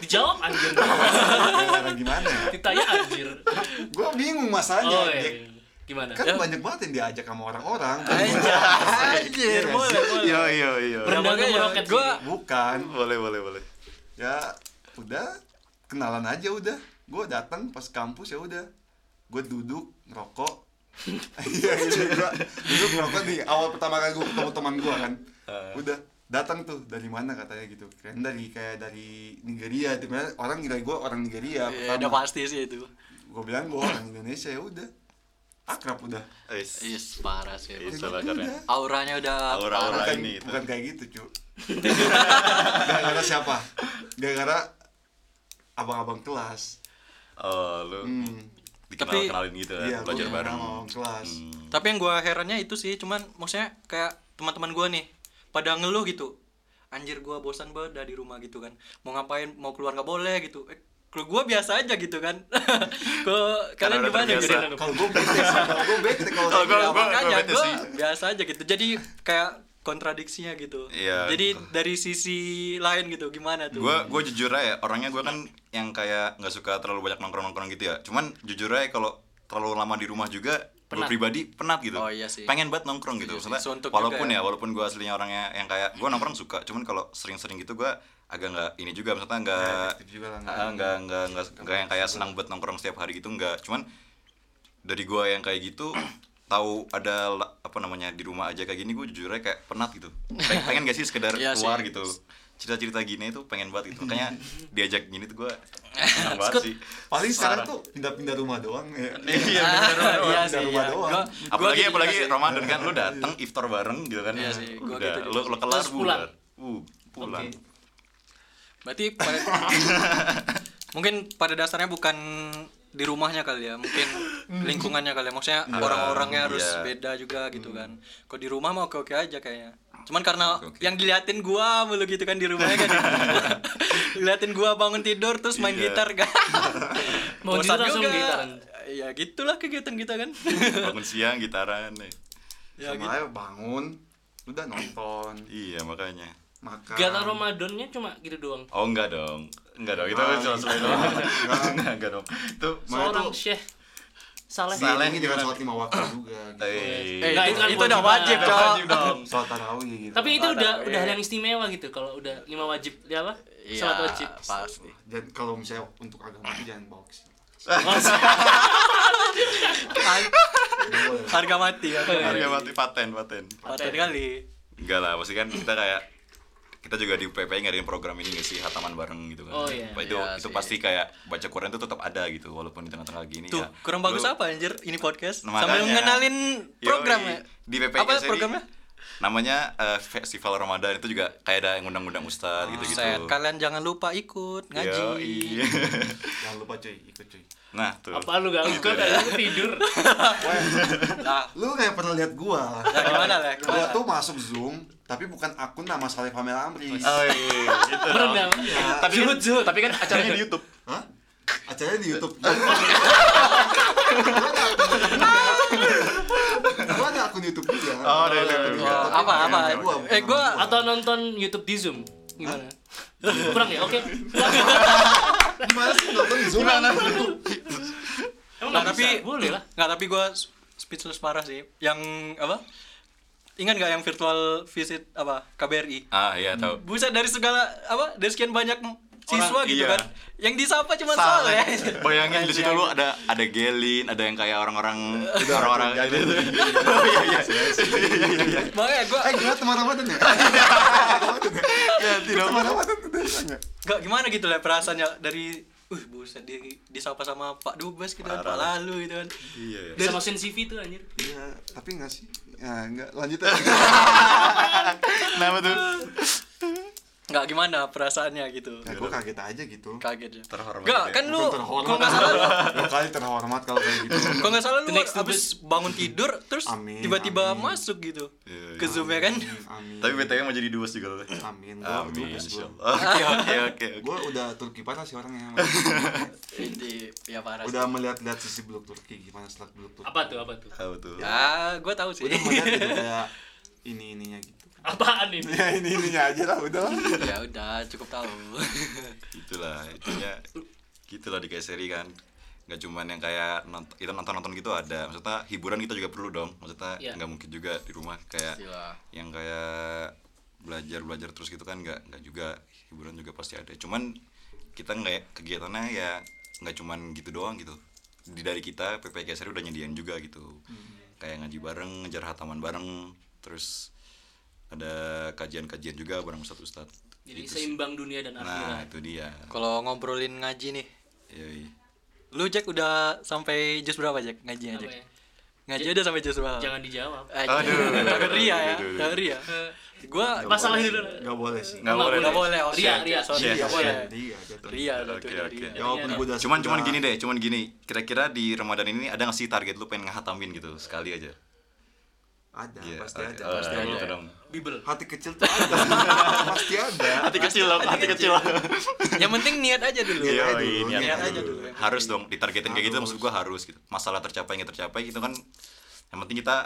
[SPEAKER 1] Dijawab anjir.
[SPEAKER 4] Gara-gara gimana ya?
[SPEAKER 1] Ditanya anjir.
[SPEAKER 4] Gue bingung masalahnya.
[SPEAKER 1] Oh,
[SPEAKER 4] Jack.
[SPEAKER 1] iya. Gimana?
[SPEAKER 4] Kan
[SPEAKER 3] Ya.
[SPEAKER 4] banyak banget yang diajak sama orang-orang.
[SPEAKER 2] Anjir,
[SPEAKER 4] Iya,
[SPEAKER 2] boleh, boleh.
[SPEAKER 3] iya iya iya
[SPEAKER 1] Berenang
[SPEAKER 2] Ya, makanya
[SPEAKER 1] ke meroket
[SPEAKER 2] gua-
[SPEAKER 1] sih.
[SPEAKER 4] Bukan.
[SPEAKER 3] boleh boleh boleh
[SPEAKER 4] ya udah kenalan aja udah gue datang pas kampus ya udah gue duduk ngerokok iya iya gua duduk ngerokok di awal pertama kali gue ketemu teman gue kan
[SPEAKER 3] Eh.
[SPEAKER 4] udah datang tuh dari mana katanya gitu keren dari kayak dari Nigeria Tiba-tiba orang ngira gue orang Nigeria
[SPEAKER 2] Ya,
[SPEAKER 3] Iya,
[SPEAKER 2] udah
[SPEAKER 4] pertama
[SPEAKER 2] pasti sih itu.
[SPEAKER 4] gue bilang gue orang Indonesia ya udah akrab udah
[SPEAKER 3] Ais.
[SPEAKER 2] Is parah sih.
[SPEAKER 3] Iya.
[SPEAKER 4] Ya
[SPEAKER 3] Salah
[SPEAKER 4] gitu
[SPEAKER 3] karena-
[SPEAKER 4] udah.
[SPEAKER 2] Auranya udah
[SPEAKER 3] Aura- aura.
[SPEAKER 4] bukan,
[SPEAKER 3] ini itu.
[SPEAKER 4] bukan kayak gitu cu gara-gara siapa gara-gara abang-abang kelas
[SPEAKER 3] oh lu
[SPEAKER 4] Hmm.
[SPEAKER 3] dikenal
[SPEAKER 2] Tapi-
[SPEAKER 3] kenalin gitu kan,
[SPEAKER 4] Iya, gua
[SPEAKER 3] belajar
[SPEAKER 4] kenal
[SPEAKER 3] bareng
[SPEAKER 4] sama kelas.
[SPEAKER 3] Hmm.
[SPEAKER 2] Tapi yang gua herannya itu sih, cuman maksudnya kayak teman-teman gua nih pada ngeluh gitu. Anjir gua bosan banget dah di rumah gitu kan. Mau ngapain, mau keluar nggak boleh gitu. Eh, kalau gua biasa aja gitu kan. Kalau kalian
[SPEAKER 3] Karena udah
[SPEAKER 2] gimana
[SPEAKER 3] terbiasa.
[SPEAKER 2] gitu?
[SPEAKER 4] kalau gue bete sih, kalau gue bete kalau
[SPEAKER 3] Kalau gua-
[SPEAKER 2] Ya,
[SPEAKER 3] gua-
[SPEAKER 2] makanya
[SPEAKER 3] gua bete
[SPEAKER 2] gua
[SPEAKER 3] sih.
[SPEAKER 2] biasa aja gitu. Jadi kayak kontradiksinya gitu.
[SPEAKER 3] Iya.
[SPEAKER 2] Jadi dari sisi lain gitu gimana tuh?
[SPEAKER 3] gue gue jujur aja orangnya gue kan yang kayak nggak suka terlalu banyak nongkrong nongkrong gitu ya cuman jujur aja kalau terlalu lama di rumah juga gue
[SPEAKER 1] Penat.
[SPEAKER 3] pribadi penat gitu
[SPEAKER 2] Oh, iya sih.
[SPEAKER 3] pengen banget nongkrong gitu
[SPEAKER 2] Iya sih,
[SPEAKER 3] Maksudnya,
[SPEAKER 2] suntuk
[SPEAKER 3] walaupun
[SPEAKER 2] juga
[SPEAKER 3] ya
[SPEAKER 2] ya.
[SPEAKER 3] walaupun gue aslinya orangnya yang kayak gue nongkrong suka cuman kalau sering-sering gitu gue agak nggak ini juga maksudnya nggak
[SPEAKER 4] efektif juga lah, nggak-
[SPEAKER 3] ah, nggak nggak nggak nggak yang kayak senang buat nongkrong setiap hari gitu nggak cuman dari gua yang kayak gitu tahu ada la- apa namanya di rumah aja kayak gini gue jujurnya kayak penat gitu Peng- pengen gak sih sekedar
[SPEAKER 2] Iya sih.
[SPEAKER 3] keluar gitu cerita-cerita gini tuh pengen banget gitu makanya diajak gini tuh gue senang banget sih
[SPEAKER 4] paling sekarang tuh pindah-pindah rumah doang ya
[SPEAKER 3] iya
[SPEAKER 2] Ah, iya
[SPEAKER 4] Dari
[SPEAKER 2] sih.
[SPEAKER 4] rumah
[SPEAKER 2] iya.
[SPEAKER 4] doang.
[SPEAKER 2] Gua- gua
[SPEAKER 3] apalagi
[SPEAKER 2] gitu
[SPEAKER 3] apalagi
[SPEAKER 2] juga sih.
[SPEAKER 3] Ramadan kan lu datang iftar bareng gitu kan
[SPEAKER 2] Iya sih, gua
[SPEAKER 3] udah
[SPEAKER 2] gitu juga
[SPEAKER 3] lu, lu kelar
[SPEAKER 1] Terus
[SPEAKER 3] pulang
[SPEAKER 1] pulang.
[SPEAKER 3] uh, pulang
[SPEAKER 1] Oke.
[SPEAKER 2] Berarti pada- mungkin pada dasarnya bukan di rumahnya kali ya, mungkin lingkungannya kali ya. Maksudnya orang-orangnya harus
[SPEAKER 3] iya.
[SPEAKER 2] beda juga gitu kan. Kalau di rumah mah oke-oke aja kayaknya. Cuman karena
[SPEAKER 3] Oke-oke.
[SPEAKER 2] yang diliatin gua mulu gitu kan di rumahnya kan. diliatin gua bangun tidur terus main
[SPEAKER 3] Iya.
[SPEAKER 2] gitar kan.
[SPEAKER 1] Mau
[SPEAKER 2] Bosan
[SPEAKER 1] tidur langsung
[SPEAKER 2] juga.
[SPEAKER 1] gitaran.
[SPEAKER 2] Ya gitulah kegiatan kita kan.
[SPEAKER 3] bangun siang gitaran nih
[SPEAKER 2] ya gitu.
[SPEAKER 4] sama aja bangun udah nonton
[SPEAKER 3] iya makanya
[SPEAKER 4] makan
[SPEAKER 1] Kegiatan Ramadannya cuma gitu doang.
[SPEAKER 3] oh enggak dong enggak dong itu
[SPEAKER 4] Ah,
[SPEAKER 3] cuma
[SPEAKER 4] gitu.
[SPEAKER 3] selain doang enggak enggak dong itu
[SPEAKER 1] Seorang syekh saleh.
[SPEAKER 3] Saleh.
[SPEAKER 4] ini juga sholat lima waktu juga gitu.
[SPEAKER 3] Eh,
[SPEAKER 2] Eh,
[SPEAKER 1] Nah,
[SPEAKER 2] itu,
[SPEAKER 1] itu kan
[SPEAKER 2] itu udah wajib,
[SPEAKER 1] kewajiban.
[SPEAKER 2] Cok.
[SPEAKER 3] wajib dong
[SPEAKER 4] sholat tarawih gitu
[SPEAKER 1] Tapi itu
[SPEAKER 2] Salah,
[SPEAKER 1] udah
[SPEAKER 2] iya.
[SPEAKER 1] udah hal yang istimewa gitu kalau udah lima wajib ya apa?
[SPEAKER 3] Iya,
[SPEAKER 1] Salat wajib.
[SPEAKER 2] pasti.
[SPEAKER 4] dan kalau misalnya untuk agama itu jangan box
[SPEAKER 2] Harga mati ya.
[SPEAKER 3] harga mati paten paten
[SPEAKER 2] Paten kali.
[SPEAKER 3] enggak lah pasti kan kita kayak kita juga di PP ngadain program ini gak sih hataman bareng gitu
[SPEAKER 1] Oh,
[SPEAKER 3] kan
[SPEAKER 1] iya.
[SPEAKER 3] Wah, itu
[SPEAKER 2] Iya
[SPEAKER 3] itu
[SPEAKER 2] sih.
[SPEAKER 3] pasti kayak baca Quran itu tetap ada gitu walaupun di tengah-tengah gini
[SPEAKER 2] Tuh,
[SPEAKER 3] ya
[SPEAKER 2] kurang
[SPEAKER 3] Lu- nah,
[SPEAKER 2] bagus apa anjir ini podcast?
[SPEAKER 3] Makanya.
[SPEAKER 2] Sambil ngenalin
[SPEAKER 3] Yoi,
[SPEAKER 2] program ya.
[SPEAKER 3] di PPKS
[SPEAKER 2] Apa
[SPEAKER 3] ini
[SPEAKER 2] programnya?
[SPEAKER 3] namanya eh, festival Ramadan itu juga kayak ada yang undang-undang ustad gitu-gitu
[SPEAKER 2] Oh, Set, kalian jangan lupa ikut ngaji.
[SPEAKER 3] Yoi. Iya.
[SPEAKER 4] jangan lupa cuy ikut cuy
[SPEAKER 3] nah tuh
[SPEAKER 1] Apa lu gak ikut
[SPEAKER 3] Iya.
[SPEAKER 1] aku tidur.
[SPEAKER 2] Lah,
[SPEAKER 4] lu kayak pernah lihat gua
[SPEAKER 2] lah Nah, gimana lah?
[SPEAKER 4] gua
[SPEAKER 2] Gimana?
[SPEAKER 4] tuh masuk zoom tapi bukan akun nama Saleh Pamela Amri
[SPEAKER 3] Oh, iya, gitu dong.
[SPEAKER 1] Berenang.
[SPEAKER 3] tapi kan, tapi kan acaranya di YouTube
[SPEAKER 4] Hah? Acaranya di YouTube. Gua ada akun YouTube juga.
[SPEAKER 3] Oh, ada akun
[SPEAKER 2] Wah, apa apa?
[SPEAKER 4] Gua bukan
[SPEAKER 2] Eh gua
[SPEAKER 4] akun
[SPEAKER 1] Atau nonton YouTube di Zoom. Gimana? Kurang ya? Oke.
[SPEAKER 4] gua. Gimana sih nonton di Zoom?
[SPEAKER 1] Emang
[SPEAKER 2] Nah,
[SPEAKER 1] nggak
[SPEAKER 2] tapi-
[SPEAKER 1] bisa? Boleh lah.
[SPEAKER 2] nggak tapi gua speechless parah sih. Yang apa? Ingat nggak yang virtual visit apa KBRI?
[SPEAKER 3] ah iya tahu
[SPEAKER 2] Buset dari segala apa? Dari sekian banyak siswa
[SPEAKER 3] Orang-
[SPEAKER 2] gitu
[SPEAKER 3] iya.
[SPEAKER 2] kan yang disapa cuma soleh
[SPEAKER 3] Bayangin di situ lu ada ada Gelin, ada yang kayak orang-orang orang-orang
[SPEAKER 4] jangan
[SPEAKER 3] itu.
[SPEAKER 4] dulu.
[SPEAKER 3] Oh iya iya. Iya iya iya.
[SPEAKER 2] makanya gue
[SPEAKER 4] eh gimana teman
[SPEAKER 2] Iya,
[SPEAKER 4] Ramadan ya
[SPEAKER 3] Ya, tidak
[SPEAKER 4] teman Ramadan udah tanya
[SPEAKER 2] gak gimana gitu lah perasaannya dari uh buset di disapa sama Pak Dubes gitu kan Pak
[SPEAKER 3] Parah.
[SPEAKER 2] Lalu gitu kan
[SPEAKER 3] Iya. ya.
[SPEAKER 1] Bisa masukin CV tuh anjir.
[SPEAKER 4] iya tapi nggak sih ya nggak lanjut aja
[SPEAKER 3] Kenapa iya. tuh?
[SPEAKER 2] nggak gimana perasaannya gitu
[SPEAKER 4] ya gue kaget aja gitu
[SPEAKER 2] kaget ya
[SPEAKER 3] Terhormat.
[SPEAKER 2] Gak,
[SPEAKER 3] ya.
[SPEAKER 2] kan lu
[SPEAKER 4] Bukan
[SPEAKER 2] kalau nggak salah lu-
[SPEAKER 4] Dua kali terhormat kalau kayak gitu
[SPEAKER 2] kalau nggak salah lu
[SPEAKER 1] The next to
[SPEAKER 2] habis bangun tidur terus
[SPEAKER 4] Amin,
[SPEAKER 2] tiba-tiba
[SPEAKER 4] amin.
[SPEAKER 2] masuk gitu
[SPEAKER 3] Iya,
[SPEAKER 2] ke
[SPEAKER 3] iya.
[SPEAKER 2] zoom ya kan
[SPEAKER 4] amin
[SPEAKER 3] Tapi BTW mau jadi dubes juga lu.
[SPEAKER 4] amin gue
[SPEAKER 3] Amin.
[SPEAKER 4] amin
[SPEAKER 3] insyaallah. Oke oke oke oke.
[SPEAKER 4] gue udah Turki parah sih orangnya
[SPEAKER 2] Di- ya parah
[SPEAKER 4] udah melihat-lihat sisi blok Turki gimana setelah blok Turki
[SPEAKER 1] Apa tuh? Apa tuh?
[SPEAKER 3] Tahu tuh.
[SPEAKER 2] sih. ya gue tahu sih
[SPEAKER 4] udah melihat gitu kayak ini ininya gitu
[SPEAKER 1] Apaan ini?
[SPEAKER 4] ya ini ininya aja lah udah lah
[SPEAKER 2] ya udah cukup tahu
[SPEAKER 3] Itulah intinya gitulah di KSRI kan. Gak cuman yang kayak nont- kita nonton-nonton gitu ada Maksudnya hiburan kita juga perlu dong Maksudnya
[SPEAKER 1] Iya.
[SPEAKER 3] nggak mungkin juga di rumah kayak
[SPEAKER 2] Gila.
[SPEAKER 3] yang kayak belajar belajar terus gitu kan nggak nggak juga hiburan juga pasti ada cuman kita nggak kegiatannya ya nggak cuman gitu doang gitu di dari kita PPKSR udah nyediain juga gitu kayak ngaji bareng ngejar hataman bareng terus ada kajian-kajian juga bareng ustadz ustadz
[SPEAKER 1] Jadi
[SPEAKER 3] Gitu sih.
[SPEAKER 1] seimbang dunia dan
[SPEAKER 3] nah
[SPEAKER 1] akhirat.
[SPEAKER 3] itu dia
[SPEAKER 2] kalau ngobrolin ngaji nih
[SPEAKER 3] Yoi.
[SPEAKER 2] lu Jack udah sampai jus berapa Jack ngajinya
[SPEAKER 1] Apa
[SPEAKER 2] Jack
[SPEAKER 1] ya?
[SPEAKER 2] ngaji udah sampai jus berapa
[SPEAKER 1] Jangan dijawab.
[SPEAKER 2] Aduh,
[SPEAKER 3] Aduh.
[SPEAKER 2] jangan ria ya,
[SPEAKER 3] Aduh.
[SPEAKER 2] jangan ria. Gua
[SPEAKER 1] Masalah ini dulu.
[SPEAKER 4] nggak boleh sih
[SPEAKER 3] nggak boleh
[SPEAKER 2] nggak
[SPEAKER 3] deh.
[SPEAKER 2] boleh, oh,
[SPEAKER 1] Ria,
[SPEAKER 2] shit.
[SPEAKER 1] ria.
[SPEAKER 2] Sorry,
[SPEAKER 3] Shit,
[SPEAKER 2] nggak boleh.
[SPEAKER 4] Iya, jatuh.
[SPEAKER 2] Ria,
[SPEAKER 3] Oke,
[SPEAKER 2] jatuh,
[SPEAKER 3] oke.
[SPEAKER 2] ria.
[SPEAKER 4] Jawaban
[SPEAKER 3] iya.
[SPEAKER 4] gue udah
[SPEAKER 3] cuman cuman gini deh cuman gini kira-kira di Ramadan ini ada nggak sih target lu pengen ngehatamin gitu sekali aja
[SPEAKER 4] Ada,
[SPEAKER 3] Iya,
[SPEAKER 4] Nah, pasti
[SPEAKER 3] oke.
[SPEAKER 4] ada,
[SPEAKER 3] Oh,
[SPEAKER 4] pasti ada.
[SPEAKER 3] gitu dong.
[SPEAKER 1] Bibel.
[SPEAKER 4] Hati kecil tuh ada, pasti ada.
[SPEAKER 3] hati kecil dong, hati kecil
[SPEAKER 2] Yang penting niat aja dulu.
[SPEAKER 4] Iya,
[SPEAKER 3] Yoi,
[SPEAKER 4] dulu,
[SPEAKER 3] niat
[SPEAKER 4] niat
[SPEAKER 3] aja
[SPEAKER 4] aja
[SPEAKER 3] dulu.
[SPEAKER 2] ya.
[SPEAKER 4] dulu.
[SPEAKER 3] harus dong ditargetin kayak gitu
[SPEAKER 4] Harus.
[SPEAKER 3] maksud gua harus gitu masalah tercapai nggak tercapai gitu kan yang penting kita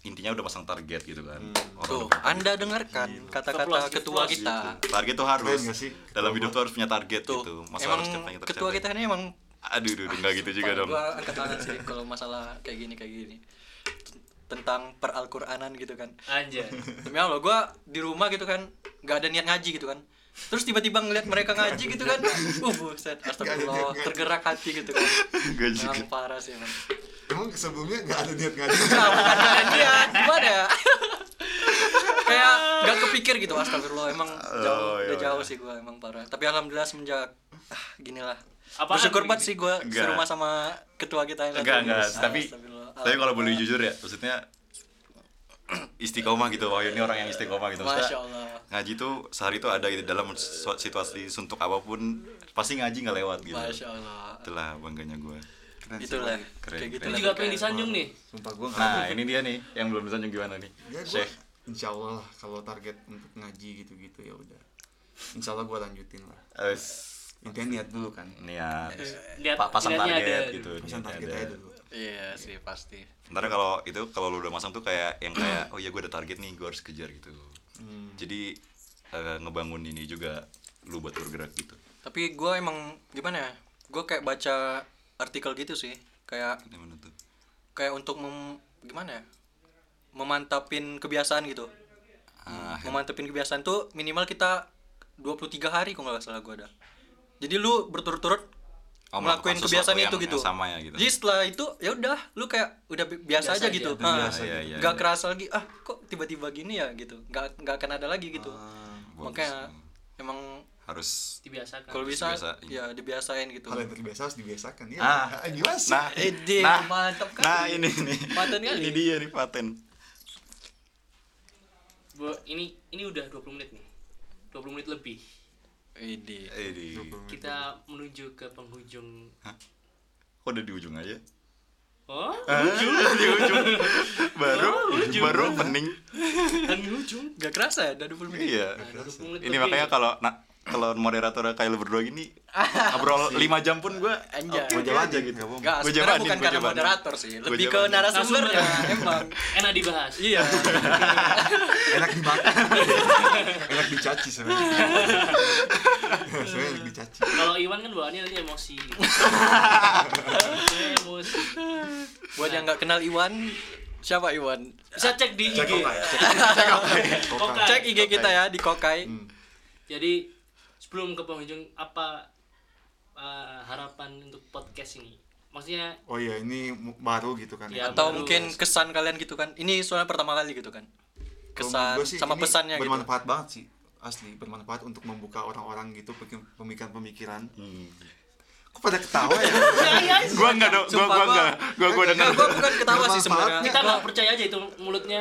[SPEAKER 3] intinya udah pasang target gitu kan Orang
[SPEAKER 2] Tuh,
[SPEAKER 3] udah pengen.
[SPEAKER 2] Anda dengarkan
[SPEAKER 1] Ketua
[SPEAKER 2] kata-kata
[SPEAKER 1] kita.
[SPEAKER 2] ketua kita.
[SPEAKER 3] target tuh harus
[SPEAKER 4] Keren nggak sih?
[SPEAKER 3] dalam hidup tuh harus punya target
[SPEAKER 2] Tuh,
[SPEAKER 3] gitu
[SPEAKER 2] emang
[SPEAKER 3] masalah tercapai nggak
[SPEAKER 2] ketua
[SPEAKER 3] tercapai
[SPEAKER 2] kita ini emang
[SPEAKER 3] aduh aduh nggak gitu juga dong
[SPEAKER 2] Gua kan. angkat tangan sih kalau masalah kayak gini kayak gini. Tentang peralquranan gitu kan.
[SPEAKER 1] Anjay.
[SPEAKER 2] Demi Allah, gue di rumah gitu kan, nggak ada niat ngaji gitu kan. Terus tiba-tiba ngeliat mereka ngaji gitu kan, uh buset, astagfirullah, tergerak hati gitu kan.
[SPEAKER 3] Gua juga.
[SPEAKER 2] Emang parah sih emang.
[SPEAKER 4] Emang sebelumnya nggak ada niat ngaji.
[SPEAKER 2] Nah, bukan kalian niat, gimana ya? Kayak nggak kepikir gitu, astagfirullah, emang jauh,
[SPEAKER 3] Oh, iya,
[SPEAKER 2] udah jauh
[SPEAKER 3] iya.
[SPEAKER 2] sih gue emang parah. Tapi alhamdulillah semenjak, ah ginilah.
[SPEAKER 1] Apaan
[SPEAKER 2] Bersyukur
[SPEAKER 1] gini?
[SPEAKER 2] banget sih gue
[SPEAKER 3] Enggak.
[SPEAKER 2] serumah sama ketua kita yang
[SPEAKER 3] enggak
[SPEAKER 2] satu ini.
[SPEAKER 3] enggak tapi
[SPEAKER 2] Astagfirullah,
[SPEAKER 3] tapi kalau boleh
[SPEAKER 2] alhamdulillah.
[SPEAKER 3] jujur ya maksudnya istiqomah gitu wah ini orang yang istiqomah gitu
[SPEAKER 2] Masya
[SPEAKER 3] maksudnya
[SPEAKER 2] Allah.
[SPEAKER 3] ngaji tuh sehari tuh ada gitu dalam su- situasi suntuk apapun pasti ngaji nggak lewat gitu
[SPEAKER 2] Masya Allah.
[SPEAKER 3] itulah bangganya gua
[SPEAKER 2] Itulah.
[SPEAKER 3] Keren,
[SPEAKER 2] Kayak gitu lah
[SPEAKER 1] Lu juga
[SPEAKER 3] keren.
[SPEAKER 2] pokoknya.
[SPEAKER 1] pengen disanjung nih.
[SPEAKER 4] Sumpah gue nggak.
[SPEAKER 3] Nah ini dia nih yang belum disanjung gimana nih
[SPEAKER 4] Ya, gua,
[SPEAKER 3] Syekh
[SPEAKER 4] insya Allah lah kalau target untuk ngaji gitu-gitu ya udah. Insya Allah gue lanjutin lah.
[SPEAKER 3] eh,
[SPEAKER 4] Intinya niat dulu kan.
[SPEAKER 3] niat
[SPEAKER 1] Lihat
[SPEAKER 3] pa- pasang
[SPEAKER 1] niatnya
[SPEAKER 3] target
[SPEAKER 1] ada.
[SPEAKER 3] gitu
[SPEAKER 4] Pesan
[SPEAKER 3] niatnya
[SPEAKER 4] target
[SPEAKER 3] ada.
[SPEAKER 4] aja dulu.
[SPEAKER 2] Iya sih pasti.
[SPEAKER 3] ntar kalau itu kalau lu udah masang tuh kayak yang kayak oh iya gue ada target nih gue harus kejar gitu
[SPEAKER 4] Hmm.
[SPEAKER 3] jadi eh, ngebangun ini juga lu buat bergerak gitu
[SPEAKER 2] Tapi gue emang gimana ya? Gue kayak baca artikel gitu sih. Kayak
[SPEAKER 3] gimana tuh
[SPEAKER 2] kayak untuk mem, gimana ya? Memantapin kebiasaan gitu.
[SPEAKER 3] ah,
[SPEAKER 2] Memantapin kebiasaan tuh minimal kita 23 hari kalau nggak salah gue ada. Jadi lu berturut-turut
[SPEAKER 3] Oh, melakukan
[SPEAKER 2] ngelakuin
[SPEAKER 3] sesuatu
[SPEAKER 2] kebiasaan
[SPEAKER 3] yang-
[SPEAKER 2] itu
[SPEAKER 3] yang
[SPEAKER 2] gitu.
[SPEAKER 3] sama ya gitu.
[SPEAKER 2] Jadi setelah itu ya udah lu kayak udah bi- biasa,
[SPEAKER 1] Biasa
[SPEAKER 2] aja
[SPEAKER 1] aja,
[SPEAKER 2] gitu.
[SPEAKER 1] udah
[SPEAKER 2] Ah,
[SPEAKER 3] biasa Iya, gitu. iya,
[SPEAKER 2] nggak
[SPEAKER 3] iya.
[SPEAKER 2] kerasa lagi ah kok tiba-tiba gini ya gitu. Nggak nggak akan ada lagi gitu.
[SPEAKER 3] Ah, bagus.
[SPEAKER 2] Makanya emang
[SPEAKER 3] harus
[SPEAKER 1] Dibiasakan.
[SPEAKER 2] kalau bisa
[SPEAKER 3] dibiasain.
[SPEAKER 2] ya dibiasain gitu.
[SPEAKER 4] Hal yang terbiasa harus dibiasakan ya.
[SPEAKER 3] Ah.
[SPEAKER 4] gimana sih?
[SPEAKER 3] nah
[SPEAKER 2] Ede,
[SPEAKER 3] nah
[SPEAKER 2] Eh, mantap kali.
[SPEAKER 3] nah ini nih
[SPEAKER 2] Paten kali.
[SPEAKER 3] ini dia nih paten
[SPEAKER 1] Bu, ini ini udah 20 menit nih. 20 menit lebih.
[SPEAKER 2] Ede.
[SPEAKER 3] ini
[SPEAKER 1] Kita menuju ke penghujung.
[SPEAKER 3] kok udah di ujung aja
[SPEAKER 1] Oh,
[SPEAKER 3] Ah, di ujung baru
[SPEAKER 2] Oh,
[SPEAKER 3] baru pening
[SPEAKER 1] dan ujung.
[SPEAKER 2] Gak kerasa ya, udah 20 menit.
[SPEAKER 3] iya
[SPEAKER 1] Ada 20 menit
[SPEAKER 3] ini
[SPEAKER 1] lebih.
[SPEAKER 3] makanya kalau nah, kalau moderator kayak lu berdua gini ngobrol 5 jam pun gua
[SPEAKER 2] Anjay.
[SPEAKER 4] Mau
[SPEAKER 3] Oke
[SPEAKER 4] jalan
[SPEAKER 3] aja
[SPEAKER 4] aja
[SPEAKER 3] gitu
[SPEAKER 4] gitu.
[SPEAKER 2] Gak,
[SPEAKER 3] Gua
[SPEAKER 2] sebenarnya bukan
[SPEAKER 3] jabanin, gua
[SPEAKER 2] karena
[SPEAKER 3] jabanin.
[SPEAKER 2] moderator sih,
[SPEAKER 3] Gua
[SPEAKER 2] lebih ke
[SPEAKER 3] jabanin.
[SPEAKER 2] narasumbernya emang.
[SPEAKER 1] enak dibahas.
[SPEAKER 2] Iya.
[SPEAKER 4] Enak dimakan. Enak dicaci sebenarnya. Sebenarnya enak dicaci.
[SPEAKER 1] Kalau Iwan kan bawaannya tadi emosi. gitu. emosi.
[SPEAKER 2] Buat yang gak kenal Iwan, siapa Iwan?
[SPEAKER 1] Bisa cek di IG.
[SPEAKER 4] Cek ya, kok kayak.
[SPEAKER 1] Kokai.
[SPEAKER 2] Cek IG kita ya di Kokai.
[SPEAKER 1] Jadi 10 sebelum ke penghujung apa eh, harapan untuk podcast ini maksudnya
[SPEAKER 4] oh iya ini mu- baru gitu kan
[SPEAKER 1] Iya,
[SPEAKER 2] atau
[SPEAKER 1] baru.
[SPEAKER 2] mungkin kesan kalian gitu kan ini soalnya pertama kali gitu kan kesan
[SPEAKER 4] Kalau menurut gua sih
[SPEAKER 2] sama
[SPEAKER 4] ini
[SPEAKER 2] pesannya gitu
[SPEAKER 4] bermanfaat banget sih asli bermanfaat untuk membuka orang-orang gitu pemik- pemikiran-pemikiran
[SPEAKER 3] Hmm.
[SPEAKER 4] kok pada ketawa ya
[SPEAKER 3] gua enggak dong gua
[SPEAKER 2] Sumpah,
[SPEAKER 3] gua
[SPEAKER 2] gua-
[SPEAKER 3] enggak gua gua
[SPEAKER 2] Enggak,
[SPEAKER 3] denger
[SPEAKER 2] gua bukan ketawa sih
[SPEAKER 4] Bermanfaatnya.
[SPEAKER 2] sebenarnya
[SPEAKER 1] kita nggak percaya aja itu mulutnya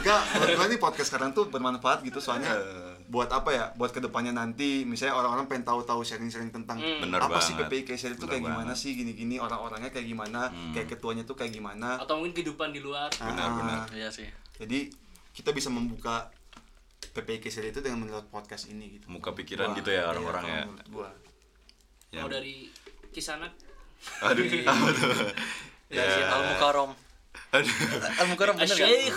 [SPEAKER 4] Enggak, menurut gua nih podcast sekarang tuh bermanfaat gitu soalnya
[SPEAKER 3] Eh.
[SPEAKER 4] buat apa ya? Buat kedepannya nanti misalnya orang-orang pengen tahu-tahu sharing-sharing tentang
[SPEAKER 3] Bener
[SPEAKER 4] apa sih
[SPEAKER 3] banget.
[SPEAKER 4] PPIK sharing tuh
[SPEAKER 3] Bener
[SPEAKER 4] kayak gimana
[SPEAKER 3] banget. Hmm.
[SPEAKER 4] sih gini-gini orang-orangnya kayak gimana, kayak ketuanya tuh kayak gimana. Ah,
[SPEAKER 1] atau mungkin kehidupan di luar
[SPEAKER 3] benar benar
[SPEAKER 2] iya sih
[SPEAKER 4] Jadi kita bisa membuka PPIK sharing itu dengan menurut podcast ini gitu.
[SPEAKER 3] muka pikiran
[SPEAKER 4] Wah,
[SPEAKER 3] gitu ya
[SPEAKER 4] iya,
[SPEAKER 3] orang-orang
[SPEAKER 4] kalau
[SPEAKER 3] ya
[SPEAKER 4] menurut gua.
[SPEAKER 3] Ya.
[SPEAKER 1] mau dari kisanak
[SPEAKER 3] aduh apa tuh
[SPEAKER 2] ya sih al mukarom
[SPEAKER 3] aduh
[SPEAKER 2] al mukarom bener kan
[SPEAKER 1] Asyik.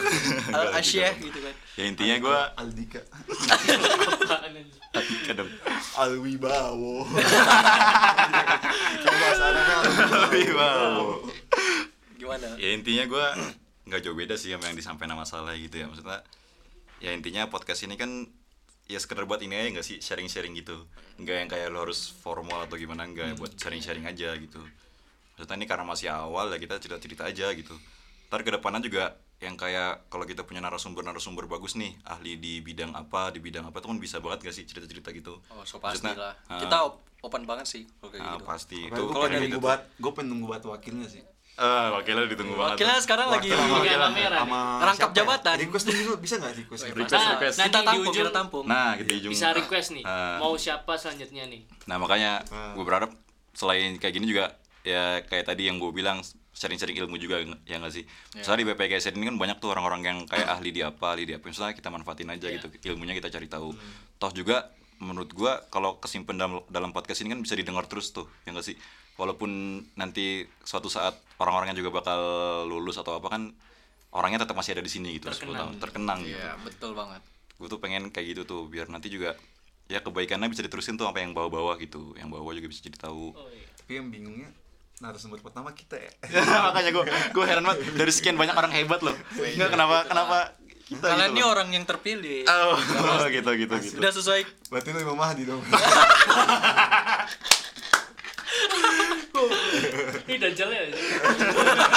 [SPEAKER 2] al
[SPEAKER 3] Enggak,
[SPEAKER 2] asyih
[SPEAKER 3] gitu.
[SPEAKER 2] gitu kan
[SPEAKER 3] ya intinya gua
[SPEAKER 4] Aldika
[SPEAKER 1] Apaan ini?
[SPEAKER 3] kadang
[SPEAKER 4] Alwibawo. Kalau bahasa Arabnya Alwibawo.
[SPEAKER 3] tapi wow
[SPEAKER 2] gimana
[SPEAKER 3] ya intinya gua nggak jauh beda sih sama yang disampaikan sama Saleh gitu ya maksudnya ya intinya podcast ini kan ya sekedar buat ini aja nggak sih sharing-sharing gitu nggak yang kayak lo harus formal atau gimana nggak
[SPEAKER 2] Hmm.
[SPEAKER 3] buat sharing-sharing aja gitu maksudnya ini karena masih awal ya kita cerita-cerita aja gitu ntar kedepannya juga yang kayak kalau kita punya narasumber-narasumber bagus nih ahli di bidang apa di bidang apa tuh kan bisa banget gak sih cerita-cerita gitu
[SPEAKER 2] oh so pasti
[SPEAKER 3] Maksudnya,
[SPEAKER 2] lah
[SPEAKER 3] ah,
[SPEAKER 2] kita op- open banget sih kalau kayak
[SPEAKER 3] ah,
[SPEAKER 2] gitu
[SPEAKER 3] pasti itu kayak
[SPEAKER 4] Gue pengen
[SPEAKER 3] gitu tuh.
[SPEAKER 4] nunggu bat, gue pengen nunggu bat wakilnya sih.
[SPEAKER 3] Eh, wakilnya ditunggu banget
[SPEAKER 2] Wakilnya
[SPEAKER 3] tuh.
[SPEAKER 2] sekarang lagi
[SPEAKER 4] Wakil sama- ya,
[SPEAKER 1] Wakil
[SPEAKER 2] kita
[SPEAKER 1] kamera nih.
[SPEAKER 4] sama
[SPEAKER 2] Iya, Rangkap
[SPEAKER 4] siapa ya?
[SPEAKER 2] jabatan.
[SPEAKER 4] Request dulu bisa nggak request?
[SPEAKER 3] Request,
[SPEAKER 1] Nah,
[SPEAKER 3] request.
[SPEAKER 1] nanti di
[SPEAKER 2] tampung
[SPEAKER 1] ujung
[SPEAKER 2] kita tampung
[SPEAKER 3] nah gitu di ujung
[SPEAKER 1] bisa request nih
[SPEAKER 3] Ah.
[SPEAKER 1] mau siapa selanjutnya nih
[SPEAKER 3] Nah makanya
[SPEAKER 4] Hmm.
[SPEAKER 3] gue berharap selain kayak gini juga ya kayak tadi yang gue bilang sharing-sharing ilmu juga ya nggak sih. Misalnya di BPKS ini kan banyak tuh orang-orang yang kayak ahli di apa, ahli di apa. Misalnya kita manfaatin aja gitu ilmunya kita cari tahu. Toh juga menurut gue kalau kesimpan dalam, dalam podcast ini kan bisa didengar terus tuh ya nggak sih. Walaupun nanti suatu saat orang-orangnya juga bakal lulus atau apa kan orangnya tetap masih ada di sini gitu 10 tahun terkenang gitu
[SPEAKER 2] iya betul banget
[SPEAKER 3] gue tuh pengen kayak gitu tuh biar nanti juga ya kebaikannya bisa diterusin tuh sampai yang bawah-bawah gitu yang bawah juga bisa jadi tahu
[SPEAKER 1] oh, iya.
[SPEAKER 4] Tapi yang bingungnya narasumber pertama kita ya.
[SPEAKER 3] makanya gue gue heran banget dari sekian banyak orang hebat loh nggak kenapa kenapa kita
[SPEAKER 2] kalian
[SPEAKER 3] gitu
[SPEAKER 2] ini
[SPEAKER 3] loh.
[SPEAKER 2] orang yang terpilih
[SPEAKER 3] Oh, gitu gitu gitu
[SPEAKER 2] udah sesuai
[SPEAKER 4] Berarti lu Imam Mahdi dong.
[SPEAKER 1] ini dajalnya ya?